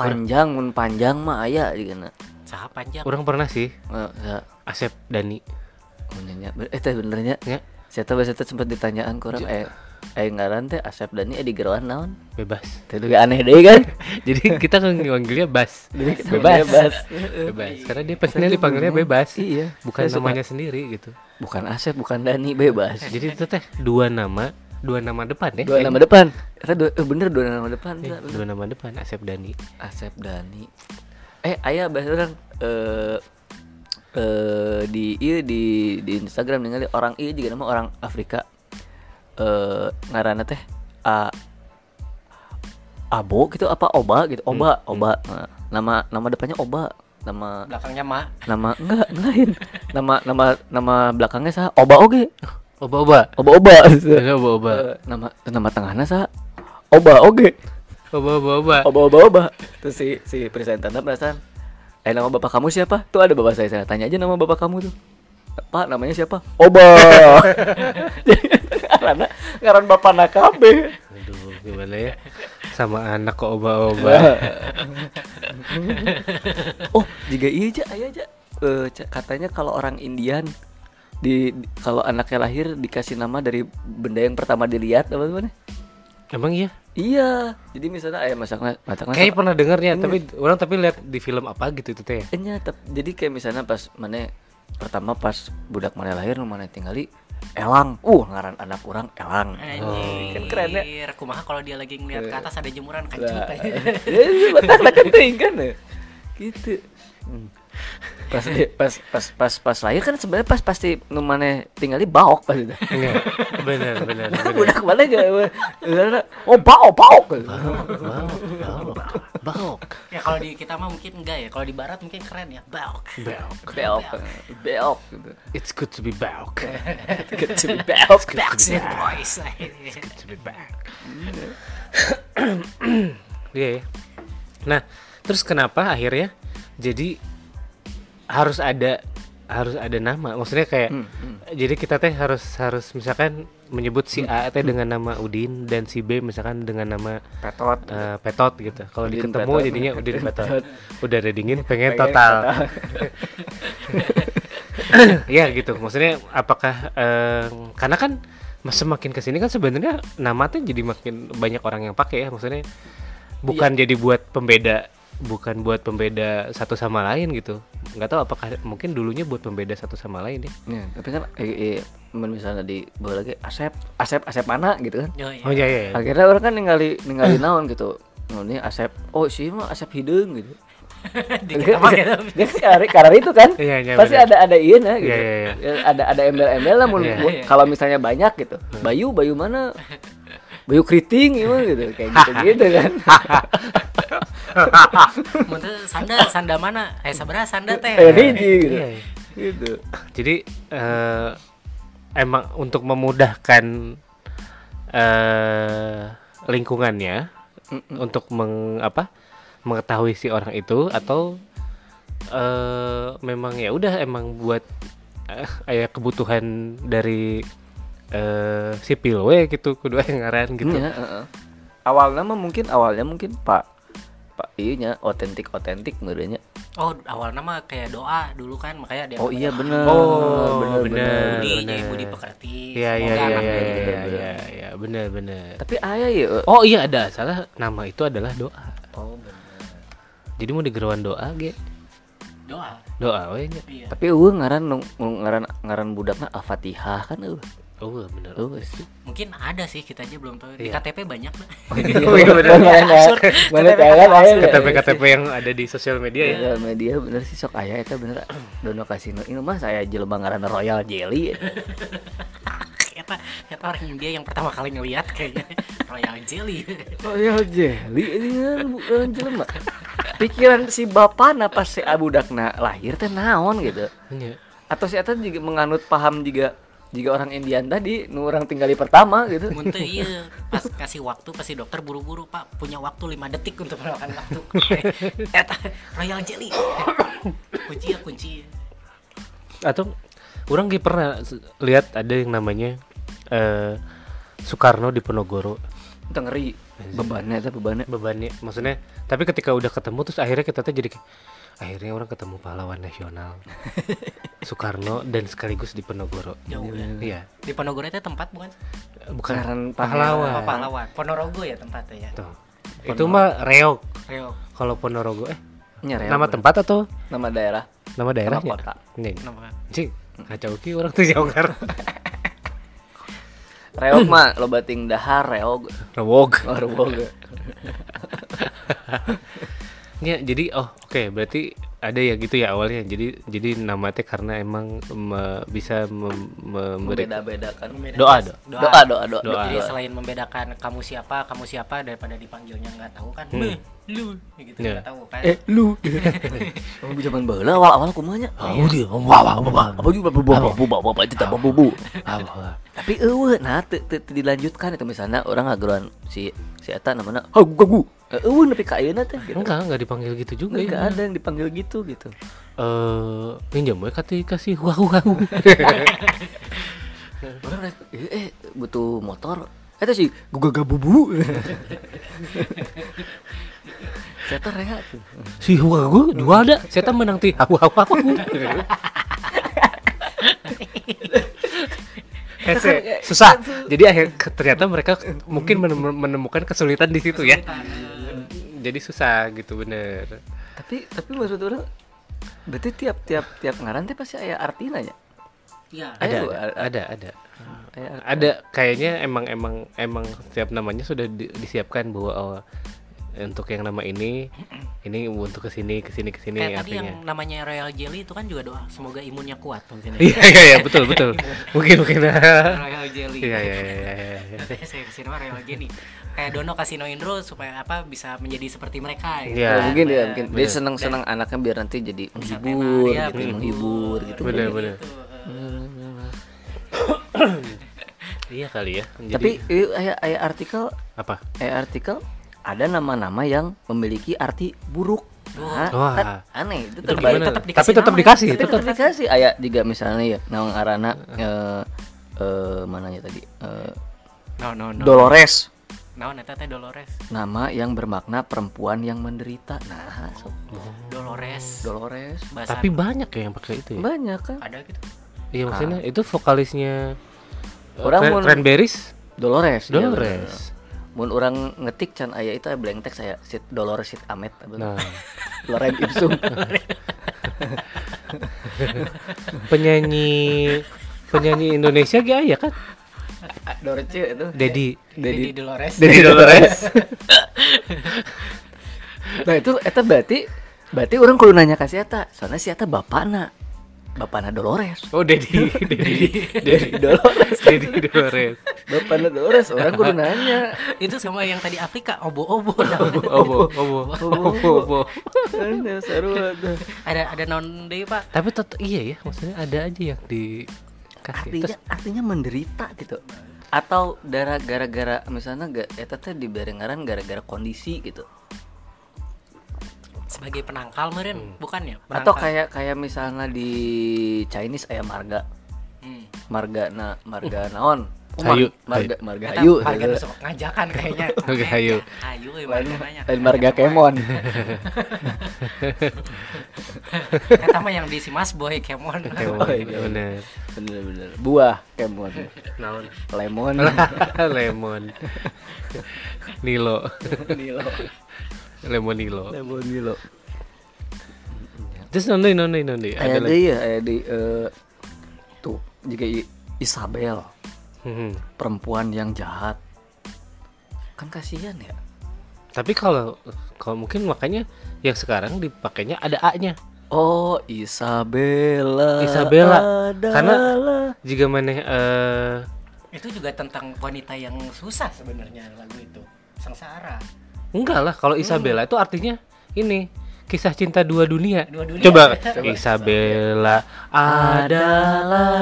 Speaker 5: Panjang mun panjang mah aya digana.
Speaker 4: sahab panjang
Speaker 3: Orang pernah sih
Speaker 5: Heeh, ya.
Speaker 3: Asep Dani.
Speaker 5: Benernya. Eh teh benernya.
Speaker 3: Ya,
Speaker 5: Saya tahu saya sempat ditanyaan kurang eh eh ngaran teh Asep Dani eh di geroan naon?
Speaker 3: bebas.
Speaker 5: Teh juga aneh deh kan.
Speaker 3: Jadi kita ngepanggilnya Bas.
Speaker 5: kita
Speaker 3: bebas.
Speaker 5: manggilnya Bas.
Speaker 3: Bebas. Karena dia pastinya dipanggilnya bebas.
Speaker 5: Iya.
Speaker 3: Bukan
Speaker 5: Saya suka.
Speaker 3: namanya sendiri gitu.
Speaker 5: Bukan Asep, bukan Dani, bebas.
Speaker 3: Jadi itu teh dua nama, dua nama depan ya.
Speaker 5: Dua
Speaker 3: Eh,
Speaker 5: nama depan. Eta dua eh, bener dua nama depan. Eta bener.
Speaker 3: dua nama depan Asep Dani.
Speaker 5: Asep Dani. Eh, ayah bahasa orang eh eh di ieu di di Instagram ningali orang ieu juga nama orang Afrika. Eh ngaranna teh A Abo gitu apa Oba gitu. Oba, Oba. Nah, nama nama depannya Oba. Nama
Speaker 4: belakangnya Ma
Speaker 5: nama enggak lain. Nama nama nama belakangnya sah Oba oge.
Speaker 3: Oba-oba.
Speaker 5: Oba-oba.
Speaker 3: Ada Oba-oba.
Speaker 5: Eh, nama nama tengahnya sah Oba oge
Speaker 3: Oba-oba.
Speaker 5: oba-oba-oba terus si si presenternya penasaran eh nama bapak kamu siapa tuh ada bapak saya saya tanya aja nama bapak kamu tuh pak namanya siapa oba karena ngaran bapak nakabe
Speaker 3: Aduh, gimana ya? Sama anak kok oba-oba.
Speaker 5: oh jika iya aja iya aja Eh, ca- katanya kalau orang Indian di di- kalau anaknya lahir dikasih nama dari benda yang pertama dilihat apa gimana?
Speaker 3: Emang iya?
Speaker 5: iya jadi misalnya ayah masaknya masaknya
Speaker 3: Kayaknya pernah dengarnya, tapi orang tapi lihat di film apa gitu itu teh. ya?
Speaker 5: Iya, Enya, tap- jadi kayak misalnya pas mana pertama pas budak mana lahir nu mana tinggali elang uh ngaran anak orang elang
Speaker 4: Anjir,
Speaker 5: Kan keren ya?
Speaker 4: Kumaha kalau dia lagi ngeliat ke atas ada jemuran kacut aja.
Speaker 5: jadi batak lah kan teuing kan ya. gitu Hmm. pas pas pas pas pas lahir kan sebenarnya pas pasti nu maneh tinggal di baok pas itu
Speaker 3: Enggak. Bener, bener, bener.
Speaker 5: budak mana gak ya, oh baok baok
Speaker 3: Baok, baok, baok.
Speaker 4: Ya kalau di kita mah mungkin enggak ya. Kalau di barat mungkin keren ya. Baok.
Speaker 3: Baok.
Speaker 5: beok beok gitu
Speaker 3: It's good to be baok.
Speaker 5: kecil beok
Speaker 4: Backstreet Boys.
Speaker 3: to be back. Iya. ya. Nah, terus kenapa akhirnya jadi harus ada harus ada nama. Maksudnya kayak
Speaker 5: Hmm,
Speaker 3: jadi kita teh harus harus misalkan
Speaker 5: Hmm.
Speaker 3: menyebut si A teh dengan nama Udin dan si B misalkan dengan nama
Speaker 5: petot
Speaker 3: eh, Petot gitu. Kalau
Speaker 5: Udin
Speaker 3: diketemu
Speaker 5: Petot.
Speaker 3: jadinya Udin Petot.
Speaker 5: Petot.
Speaker 3: Udah ada dingin
Speaker 5: Pengen
Speaker 3: pengen total. ya gitu maksudnya apakah eh, karena kan semakin kesini kan sebenarnya nama tuh jadi makin banyak orang yang pakai ya maksudnya bukan jadi buat pembeda bukan buat pembeda satu sama lain gitu nggak tahu apakah mungkin dulunya buat pembeda satu sama lain ya
Speaker 5: Ya, tapi kan eh, eh, men- misalnya di bawah lagi Asep, Asep, Asep mana gitu kan.
Speaker 4: Yo, ya.
Speaker 3: oh iya iya iya.
Speaker 5: Akhirnya orang kan ningali ningali naon gitu. Nah, ini Asep, oh sih mah Asep Hideung gitu.
Speaker 4: Di kita mah gitu.
Speaker 5: Dia kan karena- karena itu kan.
Speaker 3: Iya, iya,
Speaker 5: Pasti
Speaker 3: bener.
Speaker 5: ada ada iya nah gitu.
Speaker 3: Iya, iya, iya.
Speaker 5: Ya, Ada ada embel-embel lah mun-
Speaker 3: Iya.
Speaker 5: mun- kalau misalnya banyak gitu. Bayu, Bayu mana? Bayu keriting gimana gitu kayak gitu gitu kan.
Speaker 4: Muntah sanda, sanda mana? Eh sabra sanda
Speaker 5: Kayak
Speaker 4: teh.
Speaker 5: hiji gitu.
Speaker 3: Iya, iya.
Speaker 5: Gitu.
Speaker 3: jadi eh, emang untuk memudahkan eh, lingkungannya untuk meng, apa mengetahui si orang itu atau eh, memang ya udah emang buat eh, kayak kebutuhan dari eh, sipil we gitu kudu aya ngaran gitu
Speaker 5: Iya, heeh. Awalnya mah mungkin awalnya mungkin Pak Pak iya nya otentik otentik merenya.
Speaker 4: Oh awalnya mah kayak doa dulu kan makanya ada. yang
Speaker 5: Oh iya bener.
Speaker 3: Oh, bener.
Speaker 4: Budi, jadi Budi pekerti.
Speaker 3: Iya iya
Speaker 4: Semoga
Speaker 3: iya
Speaker 4: anak
Speaker 3: iya
Speaker 4: dia
Speaker 3: iya
Speaker 4: jadi-
Speaker 3: iya iya iya benar benar.
Speaker 5: Tapi ayah ya. eh,
Speaker 3: Oh iya ada salah nama itu adalah doa.
Speaker 5: Oh bener.
Speaker 3: Jadi mau digerawan doa ge.
Speaker 4: Doa.
Speaker 3: Doa we nya.
Speaker 4: Iya.
Speaker 5: Tapi eueuh ngaran nu- nu- ngaran ngaran budakna Al-Fatihah kan eueuh.
Speaker 3: Oh benar.
Speaker 5: Eueuh sih.
Speaker 4: Mungkin ada sih kita aja belum tahu. Di
Speaker 3: Iya.
Speaker 4: KTP banyak lah.
Speaker 5: Oh iya bener mana. Mana kalian ayah.
Speaker 3: KTP KTP yang ada di sosial media ya.
Speaker 5: Sosial media bener sih sok ayah itu bener dono kasino ini mah saya jelema ngaran Royal Jelly
Speaker 4: Kita kita orang India yang pertama kali ngelihat kayaknya Royal Jelly.
Speaker 5: Royal Jelly ini kan bukan jelema pikiran si bapak napa si abudakna lahir teh naon gitu
Speaker 3: Iya.
Speaker 5: atau si Eta juga menganut paham juga jika orang Indian tadi nu orang tinggal di pertama gitu
Speaker 4: Muntah iya pas kasih waktu pasti dokter buru-buru pak punya waktu 5 detik untuk meluangkan waktu. Eta Royal Jelly. kunci ya kunci.
Speaker 3: Atau orang ge pernah se- lihat ada yang namanya eh, Soekarno di Penogoro
Speaker 5: Itu ngeri bebannya itu bebannya
Speaker 3: bebannya maksudnya tapi ketika udah ketemu terus akhirnya kita tuh jadi kayak, akhirnya orang ketemu pahlawan nasional Soekarno dan sekaligus di Penogoro
Speaker 4: Jauh ya.
Speaker 3: iya
Speaker 4: Di Ponorogo itu tempat bukan?
Speaker 3: bukan
Speaker 5: Ngaran
Speaker 4: Apa
Speaker 3: pahlawan
Speaker 4: pahlawan? Ponorogo ya tempatnya ya.
Speaker 3: Tuh. itu mah reog
Speaker 4: Reog.
Speaker 3: kalau Ponorogo eh
Speaker 5: Nyerel,
Speaker 3: nama
Speaker 5: bener.
Speaker 3: tempat atau
Speaker 5: nama daerah
Speaker 3: nama ya? daerahnya
Speaker 5: kota.
Speaker 3: Nih.
Speaker 4: Kenapa?
Speaker 3: Cing, kacau ki orang tuh jauh kan.
Speaker 5: reog mah lo bating dahar reog
Speaker 3: Rewog.
Speaker 5: Oh, reog
Speaker 3: Ya, jadi oh oke berarti ada ya gitu ya awalnya. Jadi jadi nama teh karena emang me- bisa mem- memberi
Speaker 5: kan. beda bedakan
Speaker 3: doa doa.
Speaker 5: doa doa Iya, doa, doa.
Speaker 4: Jadi selain membedakan kamu siapa, kamu siapa daripada dipanggilnya nggak tahu kan, "Meh, lu gitu
Speaker 3: Hmm. Iya.
Speaker 4: nggak tahu kan.
Speaker 5: eh lu kamu zaman baheula awal awal kumanya oh dia wah wah wah apa juga bubu bubu bubu apa itu apa bubu tapi eueuh nah teu teu- teu dilanjutkan itu misalnya orang ngageruan si si eta namanya hagu gagu eueuh Eh, nepi ka ayeuna teh gitu.
Speaker 3: Enggak, enggak dipanggil gitu juga.
Speaker 5: Enggak
Speaker 3: ya.
Speaker 5: ada yang dipanggil gitu gitu.
Speaker 3: Eh, pinjam we kati kasih wah wah. wah.
Speaker 5: Orang naik, eh, eh, butuh motor. Itu sih gua bubu. Saya rehat tuh.
Speaker 3: si wah gua dua ada. Saya teh menang ti. Wah wah wah.
Speaker 4: eh,
Speaker 3: Hese, Eh, susah. Jadi akhir ternyata mereka mungkin menem- menemukan kesulitan di situ ya.
Speaker 4: ya.
Speaker 3: Jadi susah gitu bener.
Speaker 5: Tapi tapi maksud orang berarti tiap tiap tiap ngaran teh pasti aya artinanya.
Speaker 4: Ya.
Speaker 5: Ada,
Speaker 3: ada
Speaker 5: Bu,
Speaker 3: ada ada ada
Speaker 5: Eh,
Speaker 3: ada kayaknya emang emang emang setiap namanya sudah di- disiapkan bahwa oh, untuk yang nama ini ini untuk kesini kesini kesini
Speaker 4: Kayak tadi yang
Speaker 3: artinya
Speaker 4: namanya Royal Jelly itu kan juga doa semoga imunnya kuat mungkin. ya.
Speaker 3: iya iya iya betul betul mungkin mungkin iya
Speaker 4: Royal Jelly.
Speaker 3: iya iya iya, iya.
Speaker 4: Saya kesini mah Royal Jelly. Kayak Dono Kasino Indro supaya apa bisa menjadi seperti mereka.
Speaker 3: Iya.
Speaker 5: Oh, mungkin ya,
Speaker 4: Nah,
Speaker 5: mungkin
Speaker 3: Bener.
Speaker 5: dia senang-senang anaknya biar nanti jadi
Speaker 4: bisa
Speaker 5: menghibur,
Speaker 4: tenar, ya,
Speaker 3: iya,
Speaker 5: gitu, menghibur gitu.
Speaker 3: Bener,
Speaker 4: gitu.
Speaker 3: bener. iya kali ya
Speaker 5: Tapi
Speaker 3: Jadi-
Speaker 5: eh, aya aya artikel,
Speaker 3: apa
Speaker 5: aya artikel ada nama-nama yang memiliki arti buruk. Nah,
Speaker 3: Wah.
Speaker 5: kan aneh itu
Speaker 3: Itu
Speaker 5: terbaik.
Speaker 3: gimana?
Speaker 4: tetap dikasih
Speaker 3: tapi tetap
Speaker 4: nama.
Speaker 5: ya?
Speaker 3: dikasih
Speaker 5: Tapi
Speaker 3: tetap
Speaker 5: tetap dikasih aya juga misalnya ya nama arana eh eh, mananya tadi eh,
Speaker 4: No no no.
Speaker 5: Dolores
Speaker 4: No, neta teh Dolores.
Speaker 5: nama yang bermakna perempuan yang menderita nah so,
Speaker 4: Dolores.
Speaker 5: Dolores
Speaker 3: Oh.
Speaker 4: Bahasa
Speaker 3: tapi banyak ya yang pakai itu ya
Speaker 5: banyak kan
Speaker 4: ada gitu.
Speaker 3: iya maksudnya itu vokalisnya eh,
Speaker 5: Orang
Speaker 3: orang
Speaker 5: mau-
Speaker 3: Cranberries
Speaker 5: Dolores iya, bener.
Speaker 3: Dolores
Speaker 5: Mun orang ngetik can aya itu aya blank text saya sit Dolores sit Amet
Speaker 3: nah
Speaker 5: Loren Ipsum
Speaker 3: penyanyi penyanyi Indonesia gak ya kan
Speaker 5: Dolores itu
Speaker 3: Dedi
Speaker 4: Jadi
Speaker 5: Dedi
Speaker 4: Dolores.
Speaker 3: Dedi Dolores
Speaker 5: nah itu eta berarti berarti orang kudu nanya ka si eta soalnya si eta bapana bapana Dolores
Speaker 3: oh Dedi Dedi
Speaker 5: Dedi Dolores
Speaker 3: Dedi Dolores
Speaker 5: bapana Dolores orang kudu nanya
Speaker 4: itu sama yang tadi Afrika obo-obo namanya.
Speaker 3: obo obo obo obo
Speaker 5: Aduh, seru aduh.
Speaker 4: ada ada non day pak
Speaker 3: tapi tetap iya ya maksudnya ada aja yang dikasih
Speaker 5: artinya
Speaker 3: terus
Speaker 5: artinya menderita gitu atau gara gara-gara misalnya gak eta teh dibarengaran gara-gara kondisi gitu
Speaker 4: sebagai penangkal meren bukannya
Speaker 5: atau
Speaker 4: Penangkal.
Speaker 5: kayak kayak misalnya di Chinese ayam marga
Speaker 4: Hmm.
Speaker 5: marga na marga naon
Speaker 3: Umang. Hayu.
Speaker 5: marga marga
Speaker 4: Eta
Speaker 5: Uh. hayu
Speaker 4: harga tuh sok ngajakan kayaknya
Speaker 3: Oke, hayu.
Speaker 4: hayu ya
Speaker 5: Lain-
Speaker 4: marganya.
Speaker 5: lain Eh, marga kemon
Speaker 4: Eta mah yang di si mas boy kemon
Speaker 5: Oh,
Speaker 3: Kemon,
Speaker 5: iya.
Speaker 3: bener
Speaker 5: bener bener buah kemon
Speaker 3: Naon?
Speaker 5: lemon
Speaker 3: lemon Nilo
Speaker 5: nilo
Speaker 3: lemon Nilo
Speaker 5: lemon nilo
Speaker 3: terus nonde nonde nonde
Speaker 5: ada di
Speaker 3: ada lagi
Speaker 5: ya ada di eh, tuh jika I- Isabel
Speaker 3: Mhm.
Speaker 5: perempuan yang jahat kan kasihan ya
Speaker 3: tapi kalau kalau mungkin makanya yang sekarang dipakainya ada A nya
Speaker 5: Oh Isabella
Speaker 3: Isabella.
Speaker 5: adalah-
Speaker 3: Karena- jika mana eh
Speaker 4: itu juga tentang wanita yang susah sebenarnya lagu itu sengsara
Speaker 3: enggak lah kalau Isabella itu artinya ini kisah cinta dua dunia,
Speaker 4: Dua dunia.
Speaker 3: coba,
Speaker 4: Coba.
Speaker 3: Isabella adalah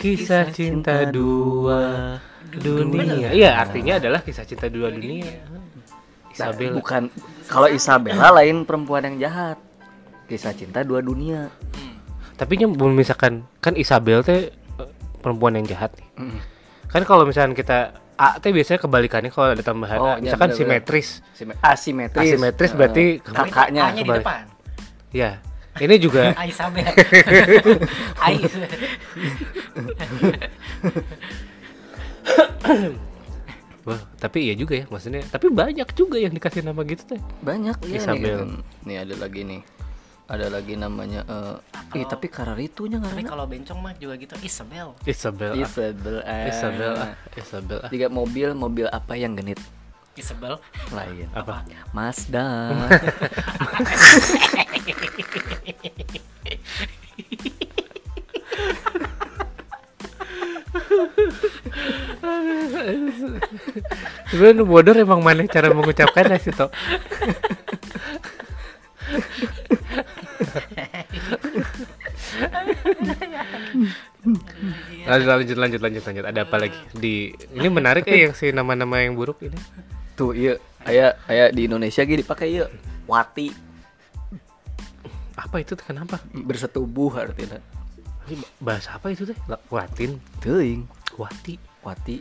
Speaker 3: kisah cinta dua dunia iya artinya adalah kisah cinta dua dunia
Speaker 5: Nah,
Speaker 3: Isabella
Speaker 5: bukan kalau Isabella lain perempuan yang jahat kisah cinta dua dunia
Speaker 3: tapi nya belum misalkan kan Isabel teh eh, perempuan yang jahat nih kan kalau misalkan kita A teh biasanya kebalikannya kalau ada tambahan
Speaker 5: Oh,
Speaker 3: A,
Speaker 5: iya,
Speaker 3: misalkan
Speaker 5: benar-benar.
Speaker 3: simetris
Speaker 5: Sime- asimetris
Speaker 3: asimetris berarti
Speaker 5: Eh,
Speaker 3: kebalik-
Speaker 5: kakaknya
Speaker 4: A-nya di
Speaker 3: kebalik.
Speaker 4: depan
Speaker 3: ya ini juga
Speaker 4: A Isabel A Isabel.
Speaker 3: Wah, tapi iya juga ya maksudnya. Tapi banyak juga yang dikasih nama gitu teh.
Speaker 5: banyak ya
Speaker 3: Isabel.
Speaker 5: nih, nih ada lagi nih ada lagi namanya eh ih, tapi kararitunya
Speaker 4: tapi
Speaker 5: nggak
Speaker 4: kalau bencong mah juga gitu Isabel
Speaker 3: Isabel. ah.
Speaker 5: Isabel ah.
Speaker 3: Isabel. ah. Isabel. ah.
Speaker 5: Jika mobil mobil apa yang genit
Speaker 4: Isabel
Speaker 5: lain
Speaker 3: Apa?
Speaker 5: Mazda
Speaker 3: Sebenarnya nu bodoh emang mana cara mengucapkan ya, sih toh. lanjut lanjut lanjut lanjut lanjut ada apa lagi di ini menarik ya yang si nama-nama yang buruk ini
Speaker 5: tuh iya aya aya di Indonesia gini dipakai iya wati
Speaker 3: apa itu teh? kenapa
Speaker 5: bersetubuh artinya
Speaker 3: Ini bahasa apa itu teh watin
Speaker 5: teuing
Speaker 3: wati
Speaker 5: wati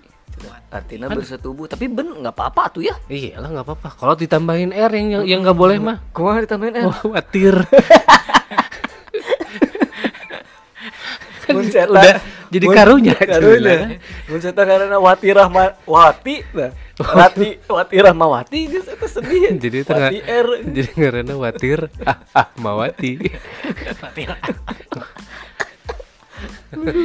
Speaker 5: artinya bersetubuh tapi ben nggak apa-apa tuh ya
Speaker 3: Iya lah nggak apa-apa. Kalau ditambahin R yang yang- yang nggak boleh mah
Speaker 5: kemana ditambahin eh
Speaker 3: Wah, watir. Kan
Speaker 5: Mun setan-
Speaker 3: udah jadi
Speaker 5: mun-
Speaker 3: karunya.
Speaker 5: karunya
Speaker 3: sebenarnya.
Speaker 5: mun setan karena wati rahma wati nah wati wati rahmawati geus eta sedih ya.
Speaker 3: Jadi itu
Speaker 5: wati
Speaker 3: nggak-
Speaker 5: r
Speaker 3: Jadi karena watir ah, ah mawati.
Speaker 4: Fatir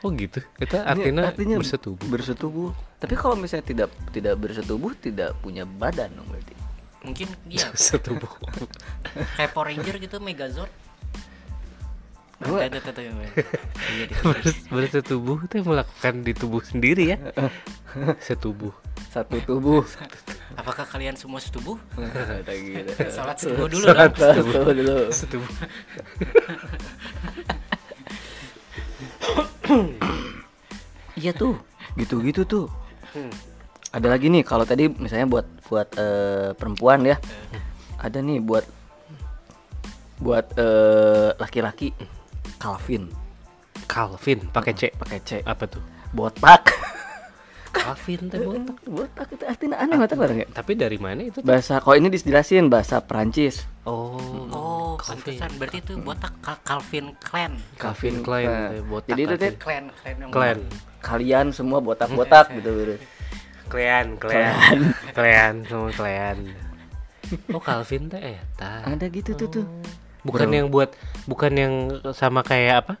Speaker 3: oh gitu kita artinya,
Speaker 5: artinya
Speaker 3: bersetubuh
Speaker 5: bersetubuh tapi kalau misalnya tidak tidak bersetubuh tidak punya badan dong berarti
Speaker 4: Mungkin iya
Speaker 3: bersetubuh
Speaker 4: kayak Power Ranger gitu Megazord. Nah,
Speaker 5: Gua-
Speaker 4: Tuh, tuh, tuh, tuh. Iya, gitu.
Speaker 3: Ber- bersetubuh itu melakukan di tubuh sendiri ya setubuh
Speaker 5: satu tubuh Nah,
Speaker 4: Apakah kalian semua setubuh?
Speaker 5: Kata gila.
Speaker 4: Salat setubuh dulu
Speaker 5: Salat
Speaker 4: dong.
Speaker 5: setubuh gitu. dulu
Speaker 3: setubuh
Speaker 5: iya tuh gitu-gitu tuh
Speaker 3: Hmm.
Speaker 5: ada lagi nih kalau tadi misalnya buat buat eh, perempuan ya ada nih buat buat eh, laki-laki Calvin
Speaker 3: Calvin pakai C
Speaker 5: pakai C
Speaker 3: apa tuh
Speaker 5: botak
Speaker 3: Ah. Calvin teh botak
Speaker 5: botak itu artinya aneh botak bareng ya
Speaker 3: tapi dari mana itu
Speaker 5: bahasa kalau ini dijelasin bahasa Perancis
Speaker 3: oh
Speaker 4: Oh, pantesan. Berarti itu botak Ka- Calvin Klein.
Speaker 3: Calvin Klein teh botak
Speaker 5: jadi itu teh
Speaker 4: Klein, Klein yang
Speaker 3: Klein
Speaker 5: kalian semua
Speaker 3: Hmm.
Speaker 5: botak-botak gitu gitu
Speaker 3: Klein Klein Klein semua Klein oh Calvin teh eta
Speaker 5: ada gitu tuh tuh
Speaker 3: Hmm. bukan yang buat bukan yang sama kayak apa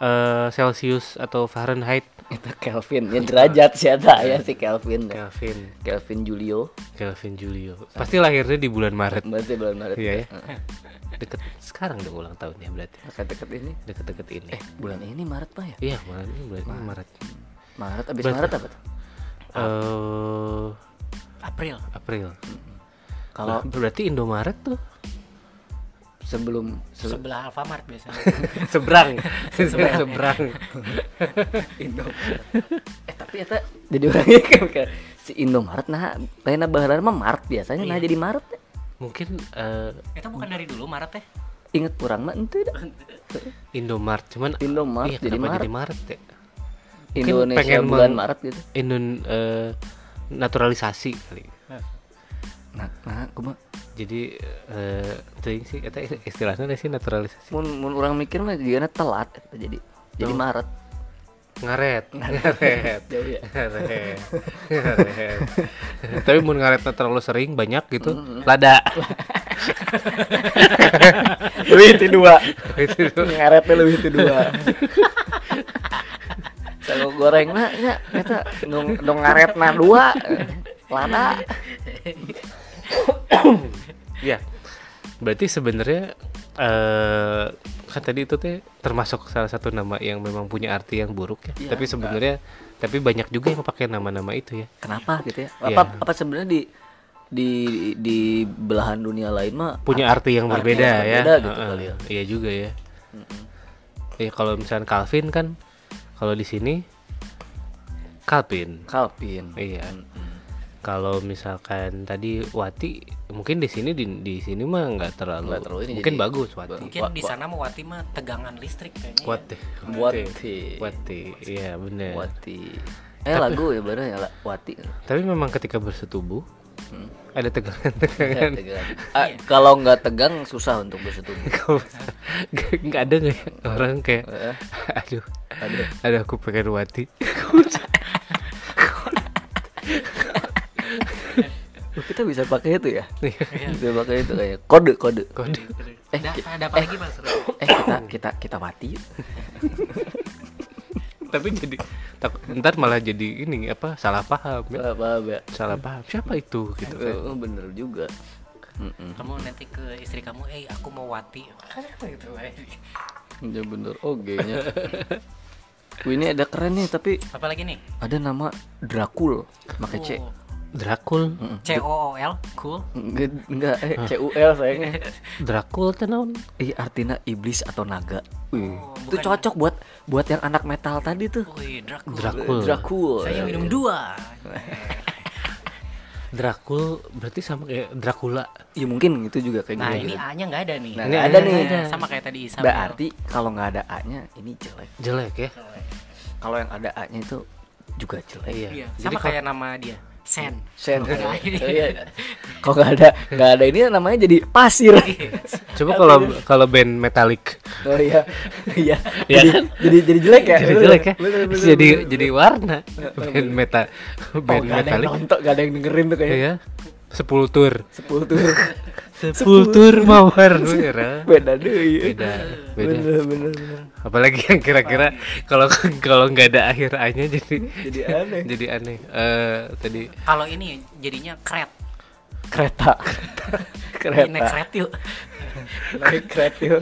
Speaker 3: Eh, Celsius atau Fahrenheit
Speaker 5: itu Kelvin yang derajat siapa ya si Kelvin
Speaker 3: Calvin
Speaker 5: Kelvin Julio
Speaker 3: Calvin Julio pasti lahirnya di bulan Maret
Speaker 5: berarti bulan Maret
Speaker 3: Iya ya. Deket sekarang dong ulang tahunnya berarti.
Speaker 5: Dekat deket ini
Speaker 3: Deket-deket ini.
Speaker 5: eh bulan ini Maret pak ya
Speaker 3: Iya, Maret ini bulan ini Maret.
Speaker 5: Maret abis
Speaker 3: Berarti-
Speaker 5: Maret apa tuh
Speaker 3: Eh
Speaker 4: April.
Speaker 3: April.
Speaker 5: kalau
Speaker 3: Ber- berarti Indomaret tuh
Speaker 5: sebelum se-
Speaker 4: Sebelah Alfamart biasanya.
Speaker 3: seberang. seberang.
Speaker 5: eh tapi eta jadi orangnya kan bukan- si Indomaret nah lainnya baharan mah Maret biasanya
Speaker 3: Iya.
Speaker 5: nah jadi Maret ya.
Speaker 3: Mungkin eh
Speaker 4: itu bukan dari dulu Maret ya? teh.
Speaker 5: inget kurang mah ente dah
Speaker 3: Indomart cuman
Speaker 5: Indomaret
Speaker 3: iya,
Speaker 5: jadi
Speaker 3: kenapa
Speaker 5: Maret
Speaker 3: jadi Maret ya?
Speaker 5: Indonesia
Speaker 3: pengen
Speaker 5: bulan
Speaker 3: meng-
Speaker 5: Maret gitu
Speaker 3: Indon eh, naturalisasi kali.
Speaker 5: nah nah kumaha
Speaker 3: Jadi eh teuing sih eta istilahnya sih naturalisasi.
Speaker 5: mun mun orang mikir mah jigana telat eta jadi jadi Maret
Speaker 3: ngaret ngaret
Speaker 5: Jauh ya?
Speaker 3: ngaret ngaret tapi mau ngaretnya terlalu sering banyak gitu lada
Speaker 5: lebih itu dua
Speaker 3: Itu
Speaker 5: Gitu.
Speaker 3: dua.
Speaker 5: ngaretnya lebih itu dua sago goreng mah nya eta nu nu ngaretna dua lada
Speaker 3: ya berarti sebenarnya eh kan tadi itu teh termasuk salah satu nama yang memang punya arti yang buruk ya,
Speaker 5: Iya,
Speaker 3: tapi sebenarnya tapi banyak juga yang pakai nama-nama itu ya
Speaker 5: kenapa gitu ya
Speaker 3: Iya.
Speaker 5: apa apa sebenarnya di di di belahan dunia lain mah
Speaker 3: punya arti yang
Speaker 5: Arti
Speaker 3: berbeda
Speaker 5: yang
Speaker 3: ya
Speaker 5: berbeda gitu
Speaker 3: Heeh,
Speaker 5: kali ya.
Speaker 3: iya juga ya ya kalau misalnya Calvin kan kalau di sini Calvin
Speaker 5: Calvin
Speaker 3: Iya. Kalau misalkan tadi Wati mungkin di sini di, di sini mah nggak terlalu,
Speaker 5: Nggak terlalu ini,
Speaker 3: mungkin
Speaker 5: jadi-
Speaker 3: bagus Wati.
Speaker 4: Mungkin
Speaker 5: Wa-
Speaker 4: di sana mah Wati mah tegangan listrik kayaknya.
Speaker 3: Kuat deh.
Speaker 5: Wati
Speaker 3: Wati. Iya Iya. bener
Speaker 5: Wati eh lagu ya bener ya La- Wati
Speaker 3: Tapi memang ketika bersetubuh
Speaker 5: Hmm.
Speaker 3: ada
Speaker 5: Ya,
Speaker 3: tegangan-tegangan.
Speaker 5: tegang. Ah, kalau nggak tegang susah untuk bersetubuh
Speaker 3: Kalau- nggak- Nggak ada nggak ya orang kayak
Speaker 5: Heeh.
Speaker 3: aduh
Speaker 5: Aduh.
Speaker 3: ada aku pengen Wati.
Speaker 5: Loh, kita bisa pakai itu ya
Speaker 3: Nih,
Speaker 5: bisa pakai itu kayak kode kode
Speaker 3: kode.
Speaker 5: eh,
Speaker 4: Ada,
Speaker 5: ki-
Speaker 4: ada apa lagi mas? Ru?
Speaker 5: eh kita kita kita mati yuk.
Speaker 3: Tapi jadi tak- ntar malah jadi ini apa salah paham ya.
Speaker 5: Apa, apa, apa.
Speaker 3: Salah paham. Siapa itu gitu kan.
Speaker 5: Eh, bener juga Mm-mm.
Speaker 4: Kamu nanti ke istri kamu, eh aku mau Wati. Apa gitu? eh?
Speaker 5: Ya bener oke nya Wih, ini ada keren nih tapi
Speaker 4: Apa lagi nih?
Speaker 5: ada nama Dracul pakai C
Speaker 3: Drakul.
Speaker 4: C O O L, cool.
Speaker 5: enggak enggak eh C U L sayangnya
Speaker 3: Drakul teh naon?
Speaker 5: Ih artinya iblis atau naga Wih,
Speaker 4: Oh,
Speaker 5: itu
Speaker 4: bukan-
Speaker 5: cocok buat buat yang anak metal tadi tuh
Speaker 4: Wih, Dracul.
Speaker 3: Drakul.
Speaker 5: Dracul
Speaker 4: Saya minum dua.
Speaker 3: Drakul berarti sama kayak Dracula.
Speaker 5: ya mungkin gitu juga kayak
Speaker 4: Nah
Speaker 3: Iya,
Speaker 5: gitu
Speaker 4: ini A nya nggak ada nih.
Speaker 5: Nah,
Speaker 3: ini
Speaker 5: ada
Speaker 3: ada.
Speaker 5: nih
Speaker 4: Sama kayak tadi Isabel.
Speaker 5: berarti kalau nggak ada A nya ini jelek
Speaker 3: Jelek ya?
Speaker 5: kalau yang ada A nya itu juga jelek
Speaker 4: Iya.
Speaker 3: Iya.
Speaker 4: Sama kayak nama dia. Sen.
Speaker 5: Sen.
Speaker 4: Nah, ini.
Speaker 5: Oh, iya. Kalau nggak ada nggak ada ini namanya jadi pasir.
Speaker 3: Coba kalau kalau band metalik.
Speaker 5: Oh iya. Iya.
Speaker 3: Iya
Speaker 5: Jadi,
Speaker 3: kan?
Speaker 5: jadi jadi jelek ya.
Speaker 3: Jadi
Speaker 5: Bener,
Speaker 3: jelek ya?
Speaker 5: bener, bener,
Speaker 3: Terus jadi
Speaker 5: bener.
Speaker 3: jadi warna band meta
Speaker 5: Oh,
Speaker 3: band
Speaker 5: nggak ada yang
Speaker 3: metalik.
Speaker 5: nonton, nggak ada yang dengerin tuh kayak.
Speaker 3: Iya. sepuluh tur
Speaker 5: sepuluh tuh
Speaker 3: sepuluh tur mawar Ra.
Speaker 5: beda deh iya.
Speaker 3: beda beda
Speaker 5: bener bener bener.
Speaker 3: apalagi yang kira-kira kalau kalau nggak ada akhir a-nya jadi
Speaker 5: jadi aneh
Speaker 3: jadi aneh Eh tadi
Speaker 4: Kalau ini jadinya kret.
Speaker 5: kereta
Speaker 4: Naik
Speaker 5: kereta
Speaker 4: kret yuk.
Speaker 5: naik kereta yuk.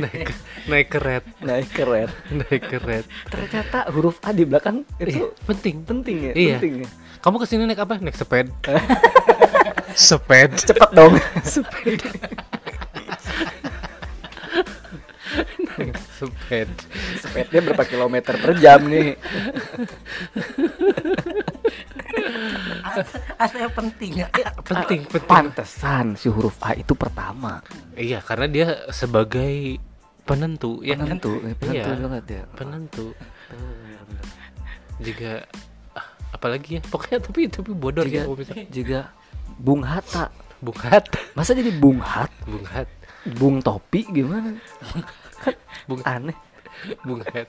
Speaker 3: naik naik keret
Speaker 5: naik kereta
Speaker 3: naik keret
Speaker 5: ternyata huruf A di belakang itu
Speaker 3: penting
Speaker 5: penting ya
Speaker 3: Iya.
Speaker 5: penting ya
Speaker 3: kamu kesini naik apa naik seped seped
Speaker 5: cepat dong
Speaker 3: naik seped
Speaker 5: sepednya berapa kilometer per jam nih
Speaker 4: Ada yang penting.
Speaker 3: Ya, penting penting
Speaker 5: pantesan si huruf A itu pertama
Speaker 3: iya karena dia sebagai penentu ya kan?
Speaker 5: penentu eh, penentu
Speaker 3: Iya.
Speaker 5: banget ya
Speaker 3: penentu juga ah, apalagi ya pokoknya tapi tapi bodoh
Speaker 5: juga
Speaker 3: ya kalau misalnya
Speaker 5: juga Bung Hatta
Speaker 3: Bung Hat
Speaker 5: masa jadi Bung Hat
Speaker 3: Bung Hat
Speaker 5: Bung Topi gimana
Speaker 3: Bung
Speaker 5: aneh
Speaker 3: Bung Hat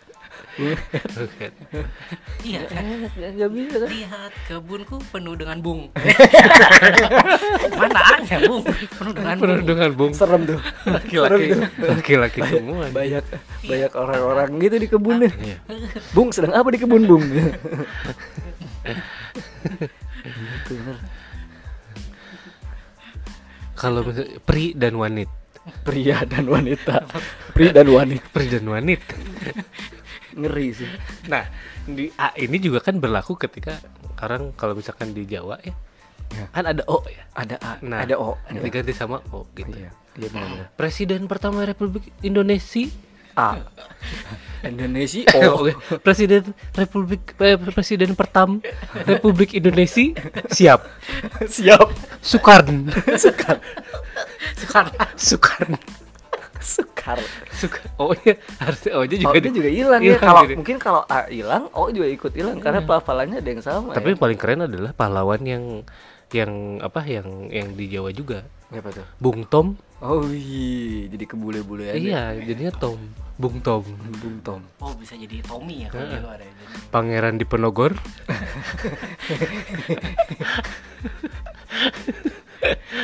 Speaker 3: Bung Hat
Speaker 4: Iya.
Speaker 5: nggak bisa kan
Speaker 4: Lihat kebunku penuh dengan bung. Mana ada bung? Penuh
Speaker 3: penuh
Speaker 4: dengan bung.
Speaker 3: dengan Kan Bung
Speaker 5: serem tuh
Speaker 3: laki-laki
Speaker 5: serem
Speaker 3: laki-laki semua
Speaker 5: banyak banyak orang-orang gitu di kebunnya
Speaker 3: Iya.
Speaker 5: Bung sedang apa di kebun Bung Gitu, bener.
Speaker 3: kalau misalnya pri dan wanit
Speaker 5: pria dan wanita pria dan wanita
Speaker 3: pri dan wanit
Speaker 5: ngeri sih
Speaker 3: nah di A ini juga kan berlaku ketika orang kalau misalkan di Jawa ya
Speaker 5: Ya.
Speaker 3: kan ada O ya
Speaker 5: ada A
Speaker 3: nah
Speaker 5: ada O ada
Speaker 3: diganti sama O gitu
Speaker 5: iya iya benar
Speaker 3: Presiden pertama Republik Indonesia Eh,
Speaker 5: A Indonesia O
Speaker 3: Oke. Presiden Republik eh, Presiden pertama Republik Indonesia siap
Speaker 5: siap
Speaker 3: Sukarn
Speaker 5: Sekar
Speaker 4: Sekarang
Speaker 3: Sukarn
Speaker 5: Sekar
Speaker 3: Sukar oh iya harus oh nya juga,
Speaker 5: O nya
Speaker 3: di-
Speaker 5: juga hilang Iya. ya kalau
Speaker 3: jadi.
Speaker 5: mungkin kalau A hilang O juga ikut hilang karena pelafalannya ada yang sama
Speaker 3: tapi yang paling keren adalah pahlawan yang yang apa yang yang di Jawa juga
Speaker 5: ya. apa tuh
Speaker 3: Bung Tom
Speaker 5: oh iya jadi kebule-bule aja
Speaker 3: iya jadinya Tom Bung Tom
Speaker 5: Bung Tom
Speaker 4: Oh bisa jadi Tommy ya kalau di luar ya. Jadi
Speaker 3: Pangeran Diponegor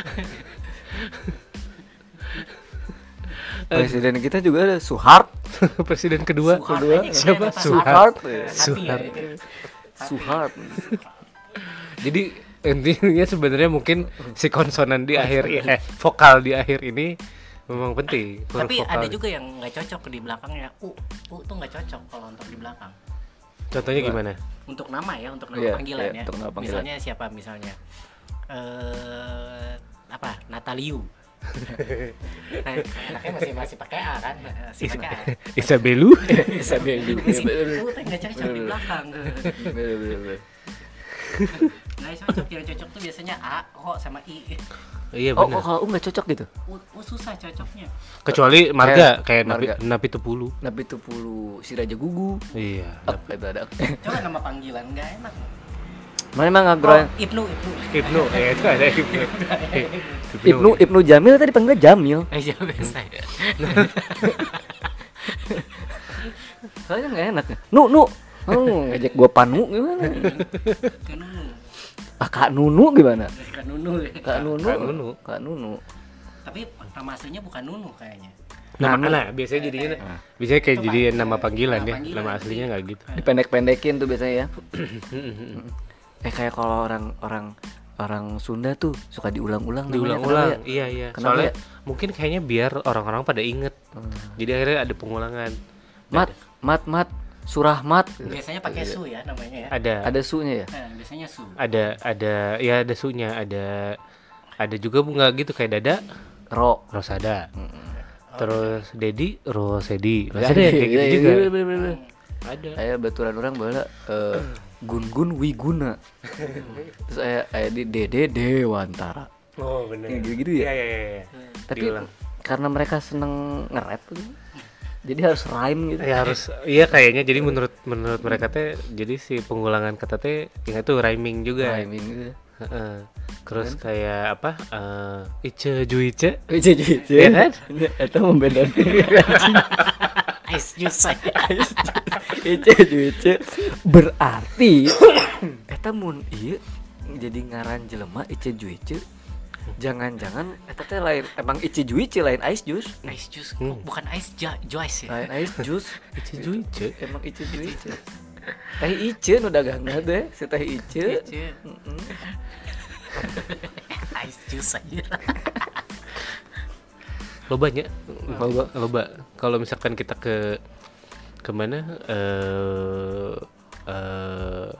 Speaker 5: presiden kita juga ada Suhart
Speaker 3: Presiden kedua
Speaker 4: Soeharto
Speaker 5: kedua,
Speaker 4: aja
Speaker 3: siapa?
Speaker 4: keren, Pak.
Speaker 3: Soeharto.
Speaker 4: Hati ya,
Speaker 3: Soeharto.
Speaker 4: gitu.
Speaker 5: Suhart
Speaker 3: Jadi intinya sebenarnya mungkin si konsonan di akhir eh vokal di akhir ini memang penting. huruf
Speaker 4: Tapi
Speaker 3: vokal.
Speaker 4: ada juga yang nggak cocok di belakangnya. U, U tuh nggak cocok kalau untuk di belakang.
Speaker 3: Contohnya gimana?
Speaker 4: Untuk nama ya, untuk nama
Speaker 5: Iya,
Speaker 4: panggilan
Speaker 5: iya,
Speaker 4: ya.
Speaker 5: untuk nama panggilan.
Speaker 4: Misalnya siapa misalnya? Eh apa? Nataliu. nah, enaknya masih masih pakai A kan?
Speaker 5: Iya.
Speaker 4: Masih pakai A.
Speaker 3: Isabelu,
Speaker 5: Isabel juga
Speaker 4: Masih U tuh nggak cocok di belakang.
Speaker 5: Bener-bener.
Speaker 4: Nggak cocok Nah, yang cocok tuh biasanya A, O sama I.
Speaker 3: iya
Speaker 5: Oh, oh,
Speaker 3: benar.
Speaker 5: kalau U nggak cocok gitu?
Speaker 4: U, U susah cocoknya.
Speaker 3: Kecuali marga kayak napi,
Speaker 5: Marga.
Speaker 3: napi tepulu.
Speaker 5: Nabi Tupulu, si Raja Gugu.
Speaker 3: Iya.
Speaker 5: Ak, itu ada. ak.
Speaker 4: Coba nama panggilan nggak enak.
Speaker 5: Mana emang
Speaker 4: Oh,
Speaker 5: ngobrol?
Speaker 4: Ibnu, Ibnu.
Speaker 3: Ibnu, eh itu ada Ibnu.
Speaker 5: Ibnu iya. Ibnu Jamil tadi panggil Jamil.
Speaker 4: Eh, jangan biasa.
Speaker 5: Soalnya nggak enak. ya? Nu nu. Oh, ngajak gua panu gimana?
Speaker 4: Ke Nunu.
Speaker 5: Ah, Kak Nunu gimana?
Speaker 4: Ke Nunu.
Speaker 5: Kak Nunu.
Speaker 3: Kak Nunu.
Speaker 5: Kak Nunu.
Speaker 4: Tapi nama aslinya bukan Nunu kayaknya.
Speaker 3: Nah, nah, biasanya jadinya biasanya kayak jadi nama panggilan
Speaker 4: Nama
Speaker 3: ya.
Speaker 4: panggilan.
Speaker 3: Nama aslinya nggak gitu.
Speaker 5: Dipendek-pendekin tuh biasanya ya. eh kayak kalau orang orang orang Sunda tuh suka diulang-ulang namanya.
Speaker 3: Diulang-ulang.
Speaker 5: Kenapa ya?
Speaker 3: Iya, iya.
Speaker 5: Kenapa
Speaker 3: Soalnya
Speaker 5: ya? Hmm.
Speaker 3: mungkin kayaknya biar orang-orang pada inget. Jadi akhirnya ada pengulangan.
Speaker 5: Mat, mat, mat, Surahmat.
Speaker 4: Biasanya pakai
Speaker 5: Iya.
Speaker 4: su ya namanya ya.
Speaker 3: Ada
Speaker 5: Ada sunya ya?
Speaker 4: Nah, biasanya su.
Speaker 3: ada ada ya ada sunya ada ada juga bunga gitu kayak dada
Speaker 5: Ro.
Speaker 3: rosada
Speaker 5: Hmm.
Speaker 3: terus
Speaker 5: Oh.
Speaker 3: dedi rosedi
Speaker 5: Ya,
Speaker 3: maksudnya kayak gitu juga ada
Speaker 5: Aya iya, baturan orang bala eh, Gun-gun Wiguna. Terus aya aya di Dede Dewantara.
Speaker 3: oh benar
Speaker 5: Kayak gitu-gitu ya?
Speaker 3: ya ya ya, ya.
Speaker 5: Tapi
Speaker 3: Diulang.
Speaker 5: karena mereka seneng nge-rap gitu, jadi harus rhyme gitu.
Speaker 3: Ya, harus iya kayaknya jadi menurut menurut mereka teh jadi si pengulangan kata teh ingat tuh rhyming juga
Speaker 5: Rhyming Kan? gitu.
Speaker 3: Heeh. terus kayak apa eh, ice juice
Speaker 5: Ece ece.
Speaker 3: Iya kan?
Speaker 5: Itu membedakan. Iya,
Speaker 4: Ice juice saya.
Speaker 5: Ece ece. Berarti eta mun ieu jadi ngaran jelema Ice Juice jangan-jangan eta teh lain emang Ice Juice lain ice juice
Speaker 4: Ice juice, bu- bukan ice ja, juice ya.
Speaker 5: lain Hmm. ice juice
Speaker 3: Ice Juice.
Speaker 5: emang Ice Juice teh Ice nu dagangna deh si teh
Speaker 3: Iya,
Speaker 5: Ice
Speaker 4: Juice. ice juice aja.
Speaker 3: lobanya loba loba kalau misalkan kita ke kemana eh eh,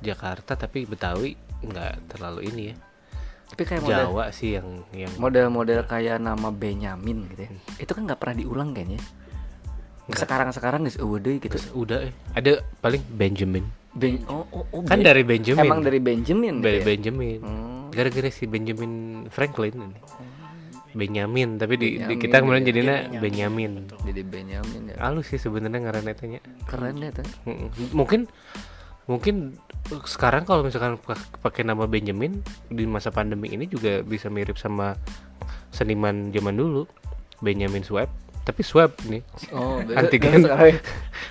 Speaker 3: Jakarta tapi Betawi nggak terlalu ini ya
Speaker 5: tapi kayak model
Speaker 3: Jawa sih yang yang
Speaker 5: model-model kayak nama Benyamin gitu ya.
Speaker 3: Hmm.
Speaker 5: itu kan nggak pernah diulang kan ya sekarang sekarang guys oh, gitu
Speaker 3: terus udah eh. ada paling Benjamin
Speaker 5: Ben oh oh, oh,
Speaker 3: kan
Speaker 5: Ben-
Speaker 3: dari Benjamin
Speaker 5: emang dari Benjamin gitu
Speaker 3: dari
Speaker 5: ya?
Speaker 3: Benjamin
Speaker 5: Hmm.
Speaker 3: gara-gara si Benjamin Franklin ini Benyamin tapi di, di kita kemudian jadinya Benyamin
Speaker 5: jadi Benjamin ya
Speaker 3: halus sih sebenarnya ngaran etanya
Speaker 5: keren ya tuh
Speaker 3: Mm-mm. mungkin mungkin sekarang kalau misalkan pak- pakai nama Benjamin di masa pandemi ini juga bisa mirip sama seniman zaman dulu Benjamin Swab tapi Swab nih
Speaker 5: oh
Speaker 3: Antigen.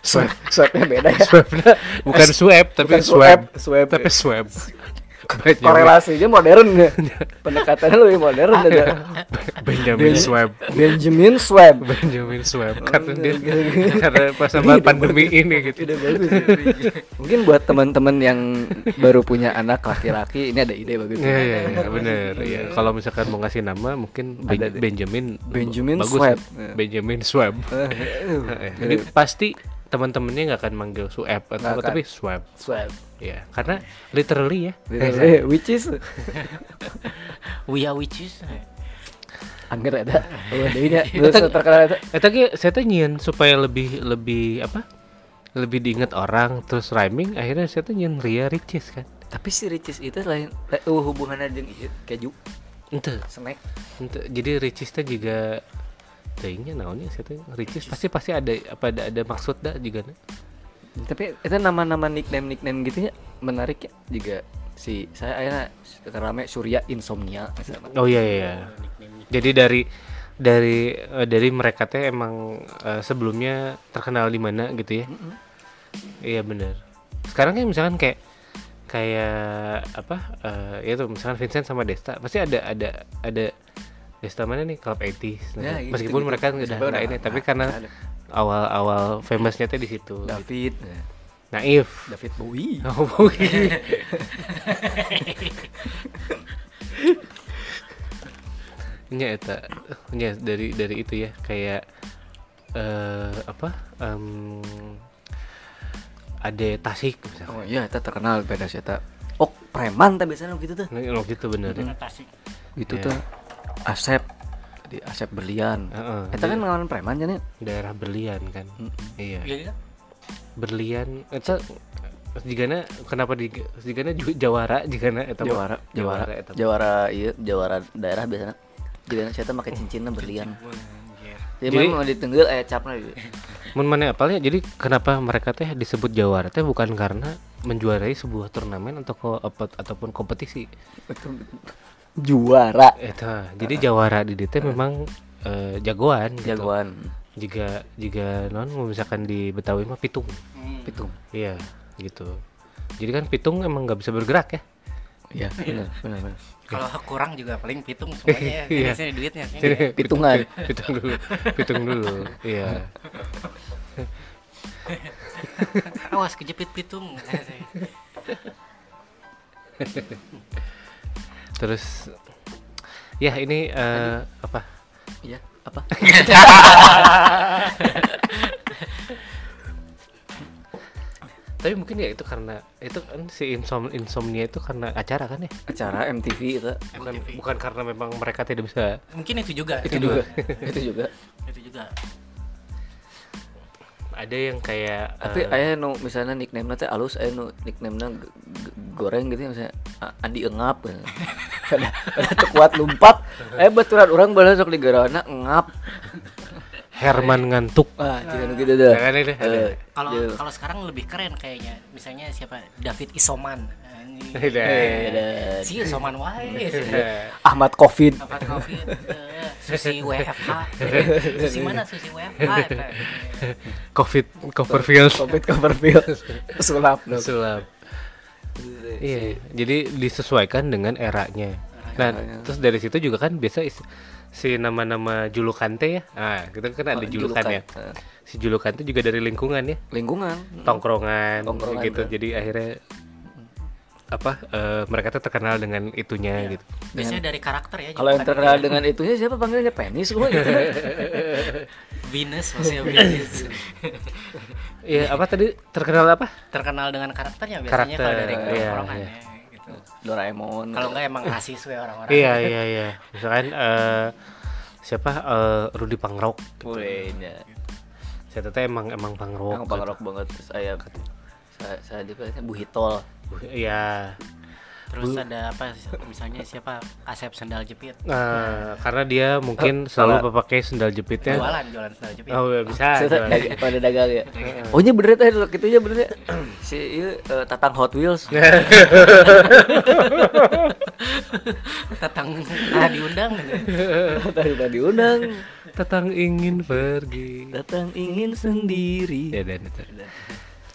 Speaker 5: swab swabnya beda ya
Speaker 3: Swab bukan Swab
Speaker 5: bukan
Speaker 3: tapi
Speaker 5: swab,
Speaker 3: Swab
Speaker 5: swab.
Speaker 3: tapi Swab Benjamin-
Speaker 5: korelasinya modern ya pendekatannya lebih modern ada
Speaker 3: Benjamin Swab
Speaker 5: Benjamin Swab
Speaker 3: Benjamin Swab
Speaker 5: Oh,
Speaker 3: karena dia karena pas sama pandemi ini gitu
Speaker 5: ide bagus ya. mungkin buat teman-teman yang baru punya anak laki-laki ini ada ide bagus
Speaker 3: Iya iya iya benar ya. Kalau misalkan mau ngasih nama mungkin Ben-
Speaker 5: Ada deh.
Speaker 3: Benjamin
Speaker 5: Benjamin
Speaker 3: bagus
Speaker 5: Swab.
Speaker 3: nih. Benjamin Swab. Heeh. Eh, Jadi pasti teman-temannya nggak akan manggil Sueb atau
Speaker 5: Nggak
Speaker 3: apa
Speaker 5: akan.
Speaker 3: tapi Swab.
Speaker 5: Swab
Speaker 3: Ya, karena literally ya.
Speaker 5: Eh, which is
Speaker 4: We are which is.
Speaker 5: angger ada oh, ada ini ya. terus terkenal ada
Speaker 3: Eta ge Eh, saya teh nyieun supaya lebih lebih apa? Lebih diingat orang terus rhyming akhirnya saya teh nyieun Ria Ricis kan.
Speaker 5: tapi si Ricis itu lain uh, hubungannya jeung ieu, keju
Speaker 3: Ente,
Speaker 5: snack
Speaker 3: ente. Jadi Ricis teh juga teuingnya naonnya saya teh Ricis pasti pasti ada apa ada, ada maksud dah juga nah. na.
Speaker 5: tapi itu nama-nama nickname nickname gitu ya menarik ya juga si saya akhirnya rame Surya Insomnia misalnya.
Speaker 3: Oh iya iya. iya. Jadi dari dari eh, dari mereka teh emang eh, sebelumnya terkenal di mana gitu ya. Iya benar. Sekarang kan misalkan kayak kayak apa eh, ya tuh misalkan Vincent sama Desta pasti ada ada ada Desta mana nih Club 80s.
Speaker 5: Ya, gitu,
Speaker 3: Meskipun
Speaker 5: gitu.
Speaker 3: mereka udah
Speaker 5: Meskipun
Speaker 3: nggak
Speaker 5: udah
Speaker 3: ini tapi
Speaker 5: nggak-
Speaker 3: karena
Speaker 5: nggak ada.
Speaker 3: awal-awal famousnya teh di situ.
Speaker 5: David nah,
Speaker 3: Naif.
Speaker 5: David Bowie
Speaker 3: Oh, Bowie. Nya eta, nya dari dari itu ya kayak eh apa? em ada Tasik misalnya.
Speaker 5: oh iya itu terkenal beda sih itu oh preman tapi biasanya gitu tuh
Speaker 3: Nah, waktu itu bener. ya.
Speaker 4: Tasik.
Speaker 5: gitu
Speaker 3: Iya.
Speaker 5: tuh Asep di Asep Berlian
Speaker 3: Heeh,
Speaker 5: itu kan ngelawan preman jadi
Speaker 3: Daerah Berlian kan. Iya.
Speaker 4: Iya kan?
Speaker 3: Berlian eta jigana kenapa di jigana ju- jawara jigana eta mah.
Speaker 5: Jawara Jawara
Speaker 3: jawara eta mah.
Speaker 5: Jawara iya Jawara daerah biasanya jadi saya tuh pakai cincinnya berlian jadi
Speaker 3: Jadi-
Speaker 5: memang mau ditenggel eh capna gitu.
Speaker 3: Mun mana apalnya jadi kenapa mereka teh disebut jawara teh bukan karena menjuarai sebuah turnamen atau ko- apa- ataupun kompetisi.
Speaker 5: juara
Speaker 3: Eta, jadi jawara di DT memang eh, jagoan gitu.
Speaker 5: jagoan
Speaker 3: Jika jika non misalkan di Betawi mah pitung.
Speaker 5: pitung
Speaker 3: Iya, gitu. Jadi kan pitung emang nggak bisa bergerak ya.
Speaker 5: Iya, benar, benar, benar.
Speaker 4: Kalau
Speaker 5: Iya.
Speaker 4: kurang juga paling pitung
Speaker 3: Iya.
Speaker 4: semuanya. Ini sini duitnya. Iya. sini.
Speaker 3: Sini,
Speaker 5: Pitungan.
Speaker 3: Pitung dulu. Pitung dulu. Iya.
Speaker 4: Awas kejepit pitung.
Speaker 3: Terus ya ini eh, apa?
Speaker 5: Iya, apa?
Speaker 3: Tapi mungkin ya itu karena itu kan si insom- insomnia itu karena acara kan ya.
Speaker 5: Acara MTV itu.
Speaker 3: Bukan, bukan karena memang mereka tidak bisa
Speaker 4: Mungkin itu juga.
Speaker 5: Itu juga. itu juga.
Speaker 4: Itu juga.
Speaker 3: ada yang kayak
Speaker 5: Tapi
Speaker 3: eh,
Speaker 5: ayah nu misalnya nickname teh alus, ayah nu nickname nya goreng gitu ya, misalnya A- Andi Engap. gitu. Ada ada teu kuat lumpat. Eh baturan orang balas sok digarana engap.
Speaker 3: Herman ngantuk.
Speaker 5: Wah, jangan gitu dah.
Speaker 3: Jangan ini,
Speaker 5: Eh,
Speaker 3: ada.
Speaker 4: Kalau
Speaker 5: iya.
Speaker 4: kalau sekarang lebih keren kayaknya. Misalnya siapa? David Isoman. Anjing.
Speaker 5: Eh, ada.
Speaker 4: Si Isoman
Speaker 5: Iya.
Speaker 4: wae.
Speaker 3: Eh.
Speaker 5: Ahmad Covid.
Speaker 4: Apa covid? eh, Susi WFH. Susi mana Susi WFH?
Speaker 3: Covid Coverfield
Speaker 5: Covid Coverfield. Sulap dong.
Speaker 3: sulap. Iya, jadi disesuaikan dengan eranya. Nah, terus dari situ juga kan biasa is- si nama-nama julukan teh ya. Ah, kita kan
Speaker 5: Oh,
Speaker 3: ada julukannya.
Speaker 5: julukan. Eh.
Speaker 3: Si julukan itu juga dari lingkungan ya,
Speaker 5: lingkungan
Speaker 3: tongkrongan,
Speaker 5: Tongkrongan,
Speaker 3: gitu.
Speaker 5: bener.
Speaker 3: Jadi akhirnya apa eh, mereka tuh terkenal dengan itunya gitu.
Speaker 4: Biasanya dari karakter ya.
Speaker 5: kalau yang
Speaker 4: julukan.
Speaker 5: terkenal dengan itunya siapa panggilnya penis semua gitu
Speaker 4: Venus maksudnya Venus.
Speaker 3: Iya, apa tadi terkenal apa?
Speaker 4: terkenal dengan karakternya biasanya kalau
Speaker 3: Karakter,
Speaker 4: dari
Speaker 3: iya,
Speaker 4: orang
Speaker 3: iya.
Speaker 4: gitu.
Speaker 5: Doraemon
Speaker 4: Kalau enggak emang rasis we orang-orang.
Speaker 3: Iya, iya, iya. Misalkan eh, siapa eh, Rudi Pangrok.
Speaker 5: boleh ya
Speaker 3: Saya tuh emang emang
Speaker 5: Aku
Speaker 3: Pangrok.
Speaker 5: pangrok banget terus saya saya, saya juga kan, Bu Hitol
Speaker 3: Iya.
Speaker 4: Terus ada apa misalnya siapa Asep sendal jepit.
Speaker 3: Eh, karena
Speaker 5: Eh,
Speaker 3: dia mungkin selalu pakai sendal jepitnya.
Speaker 4: Jualan, jualan sendal jepit.
Speaker 3: Oh, ya bisa.
Speaker 5: Saya
Speaker 3: jualan.
Speaker 5: dag- pada dagang ya. Oh ini bener teh itu itunya bener ya. Si iya, eh, Tatang Hot Wheels.
Speaker 4: Tetang ah diundang gitu.
Speaker 5: Tadi udah diundang.
Speaker 3: Tetang ingin pergi.
Speaker 5: Datang ingin sendiri.
Speaker 3: Ya dan itu.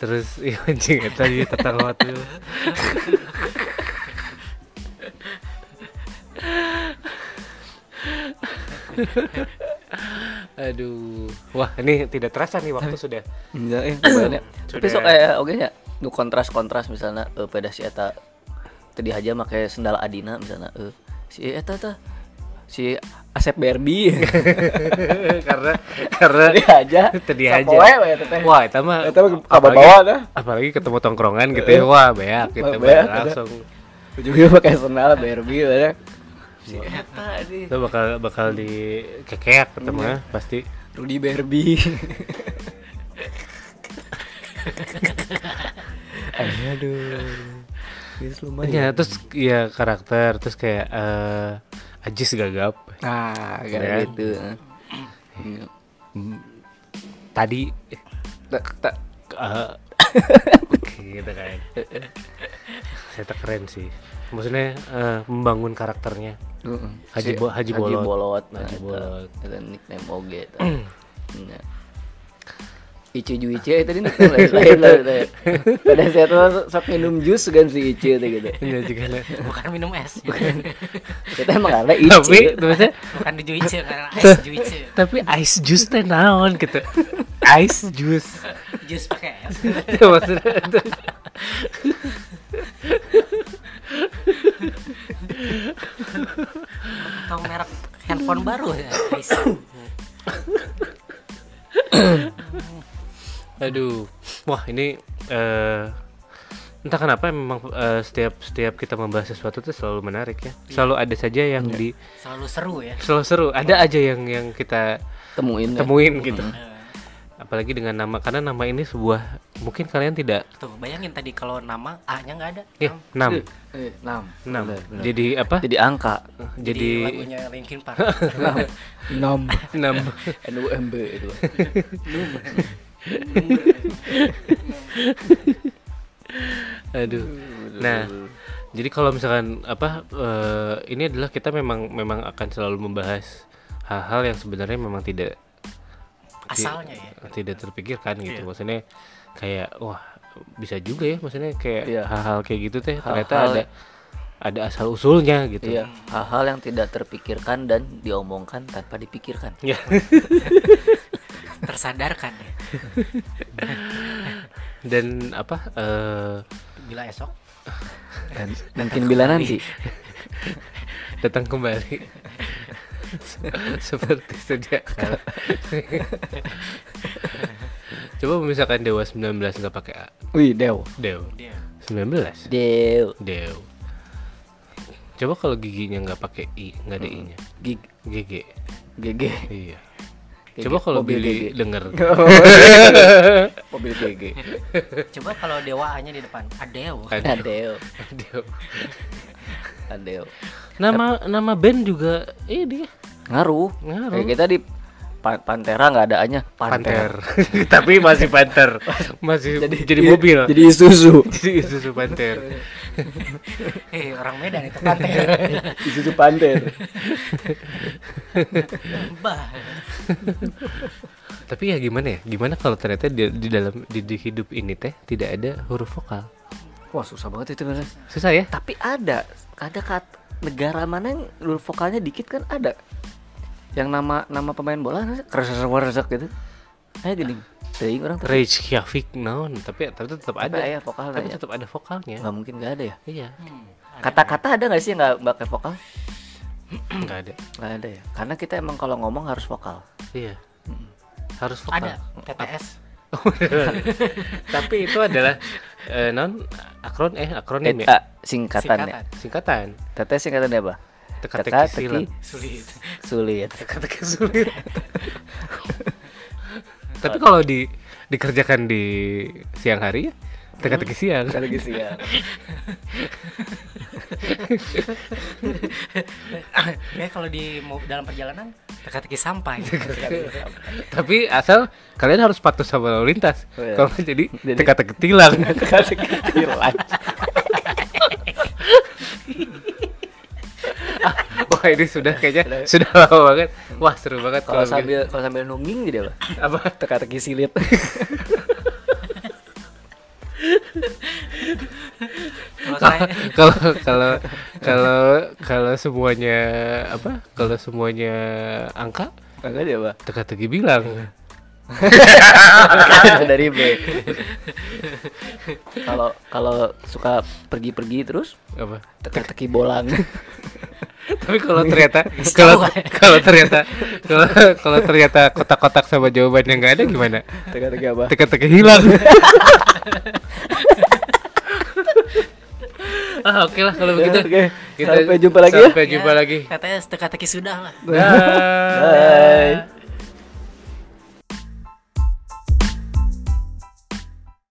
Speaker 3: Terus ya anjing itu aja tetang waktu. Aduh, wah ini tidak terasa nih waktu sudah.
Speaker 5: Enggak ya. kebayangnya. Tapi
Speaker 3: Sudah.
Speaker 5: sok kayak oke nya. Nu kontras-kontras misalnya eh pada si eta tadi aja make sendal Adina misalnya eh si eta tah si Asep Barbie
Speaker 3: karena karena
Speaker 5: tadi aja
Speaker 3: tadi
Speaker 5: Sapoe
Speaker 3: aja.
Speaker 5: we eta teh.
Speaker 3: Wah, itu mah
Speaker 5: Eta mah kabar
Speaker 3: apalagi-
Speaker 5: bawa dah.
Speaker 3: Apalagi ketemu tongkrongan gitu ya. Wah, beak gitu
Speaker 5: eh. Wah, beak,
Speaker 3: langsung.
Speaker 5: Ujungnya pakai sendal Barbie ya. Si eta di
Speaker 3: Itu bakal bakal di kekeak ketemu
Speaker 5: Iya.
Speaker 3: ya, pasti.
Speaker 5: Rudy Barbie. Aduh. Ini lumayan.
Speaker 3: Iya, terus ya karakter, terus kayak eh, Ajis gagap.
Speaker 5: Nah, kayak
Speaker 3: Ya.
Speaker 5: gitu.
Speaker 3: Tadi Nah,
Speaker 5: Tak tak
Speaker 3: eh, gitu kan. Saya tak keren sih. Maksudnya eh, membangun karakternya.
Speaker 5: Heeh.
Speaker 3: Haji
Speaker 5: Si-
Speaker 3: Bo- Haji Bolot.
Speaker 5: nah,
Speaker 3: Haji
Speaker 5: eta.
Speaker 3: Bolot. Hmm.
Speaker 5: Eta nickname oge eta. Nah. Icu Juice tadi nickname lain-lain lah eta ya. Pada saat itu sok minum jus kan si Icu teh gitu.
Speaker 3: Iya juga lah.
Speaker 4: Bukan minum es.
Speaker 5: Kita emang ada Icu.
Speaker 3: Tapi maksudnya
Speaker 4: Bukan di juice karena es juice.
Speaker 3: tapi ice juice teh naon gitu. Ice juice.
Speaker 4: Jus pakai es.
Speaker 3: Itu maksudnya itu.
Speaker 4: Tahu merek handphone baru ya. guys.
Speaker 3: Aduh. Wah, ini eh entah kenapa memang eh, setiap setiap kita membahas sesuatu tuh selalu menarik ya. Selalu ada saja yang di
Speaker 4: Selalu seru ya.
Speaker 3: selalu seru. Ada aja yang yang kita
Speaker 5: Temuin. ya.
Speaker 3: temuin gitu. Apalagi dengan nama karena nama ini sebuah mungkin kalian tidak
Speaker 4: Tuh, bayangin tadi kalau nama A-nya nggak ada.
Speaker 3: ya enam
Speaker 5: Eh, Enam.
Speaker 3: enam.
Speaker 5: Bener, bener.
Speaker 3: Jadi apa?
Speaker 5: Jadi angka.
Speaker 4: Jadi
Speaker 3: Jadi
Speaker 4: lagunya Linkin Park.
Speaker 5: Enam.
Speaker 3: enam.
Speaker 5: NUMB itu.
Speaker 3: Aduh. Nah, jadi kalau misalkan apa eh, ini adalah kita memang memang akan selalu membahas hal-hal yang sebenarnya memang tidak
Speaker 4: Asalnya ya.
Speaker 3: tidak terpikirkan gitu maksudnya kayak wah bisa juga ya maksudnya kayak
Speaker 5: Iya.
Speaker 3: hal-hal kayak gitu teh ternyata
Speaker 5: Hal-hal
Speaker 3: ada ada asal usulnya gitu
Speaker 5: Iya, hal-hal yang tidak terpikirkan dan diomongkan tanpa dipikirkan.
Speaker 3: ya
Speaker 4: Tersadarkan ya.
Speaker 3: dan apa eh,
Speaker 4: Bila esok
Speaker 5: Dan mungkin bila nanti.
Speaker 3: datang kembali seperti sedia kala coba misalkan dewa 19 nggak pakai A
Speaker 5: Wih, Dew.
Speaker 3: dew
Speaker 4: dia
Speaker 3: 19
Speaker 5: Dew.
Speaker 3: dew coba kalau giginya nggak pakai i nggak ada i nya
Speaker 5: Gig
Speaker 3: gg
Speaker 5: GG.
Speaker 3: iya
Speaker 5: Gigi.
Speaker 3: coba kalau
Speaker 5: Mobil
Speaker 3: Billy
Speaker 5: gigi.
Speaker 3: denger
Speaker 5: Mobil GG. Eh.
Speaker 4: Coba kalau dewaannya di depan, Ah, Adeo.
Speaker 5: Nah, Dew.
Speaker 3: Dew.
Speaker 5: Nah, Dew.
Speaker 3: nama nama band juga iya, ini
Speaker 5: Ngaruh.
Speaker 3: Ngaruh.
Speaker 5: Kayak kita di Pa- Pantera nggak ada A-nya.
Speaker 3: panter tapi masih panter masih jadi, mobil
Speaker 5: Jadi Isuzu.
Speaker 3: jadi Isuzu panter
Speaker 4: Eh, orang Medan itu pantai.
Speaker 5: Isuzu Panther.
Speaker 4: Bah.
Speaker 3: tapi ya gimana ya gimana kalau ternyata di, di dalam di, di hidup ini teh tidak ada huruf vokal
Speaker 5: Wah susah banget itu bener.
Speaker 3: Susah ya?
Speaker 5: Tapi ada, ada kat negara mana yang dulu vokalnya dikit kan ada. Yang nama nama pemain bola kersek gitu. Ayo gini, teuing orang tapi
Speaker 3: Rage Kyafik naon, tapi tapi tetap ada.
Speaker 5: aya vokalnya
Speaker 3: Tapi
Speaker 5: ya.
Speaker 3: tetap ada vokalnya.
Speaker 5: nggak mungkin nggak ada ya.
Speaker 3: Iya,
Speaker 5: Kata-kata ada nggak sih yang nggak pakai vokal?
Speaker 3: enggak ada.
Speaker 5: Nggak ada ya. Karena kita emang kalau ngomong harus vokal.
Speaker 3: Iya.
Speaker 5: Hmm.
Speaker 3: Harus vokal.
Speaker 4: Ada TTS.
Speaker 3: tapi itu adalah eh, non akron eh
Speaker 5: Eh,
Speaker 3: akronim ya.
Speaker 5: ah, singkatan ya.
Speaker 4: Singkatan.
Speaker 3: Singkatan.
Speaker 5: Teteh singkatan apa?
Speaker 3: Teka-teki silat.
Speaker 4: Sulit.
Speaker 5: sulit.
Speaker 3: Teka-teki sulit. tapi kalau di dikerjakan di siang hari ya teka-teki siang.
Speaker 5: Hmm. Teka-teki silat.
Speaker 4: Kayak kalau di mau dalam perjalanan teka-teki sampai.
Speaker 3: tapi asal kalian harus patuh sama lalu lintas.
Speaker 5: Oh, iya.
Speaker 3: Kalau nggak jadi
Speaker 5: Jadi-
Speaker 3: teka-teki tilang.
Speaker 5: Teka-teki silat.
Speaker 3: Wah ini sudah kayaknya sudah lama banget. Wah seru banget
Speaker 5: Kalau
Speaker 3: kalau begini.
Speaker 5: sambil kalau sambil nungging jadi apa?
Speaker 3: apa?
Speaker 5: Teka-teki silit.
Speaker 4: Kalau saya
Speaker 3: kalau kalau kalau kalau semuanya apa kalau semuanya angka
Speaker 5: Kagak dia apa?
Speaker 3: teka-teki bilang
Speaker 5: Karena dari B. Kalau kalau suka pergi-pergi terus
Speaker 3: apa
Speaker 5: teka-teki bolang.
Speaker 3: tapi kalau ternyata kalau kalau ternyata kalau kalau ternyata kotak-kotak sama jawaban yang nggak ada gimana
Speaker 5: Teka-teki apa?
Speaker 3: teka-teki hilang ah oke lah kalau begitu
Speaker 5: Oke, sampai jumpa lagi ya.
Speaker 3: sampai jumpa lagi
Speaker 4: TTS teka-teki sudah lah.
Speaker 3: Dah.
Speaker 5: Bye.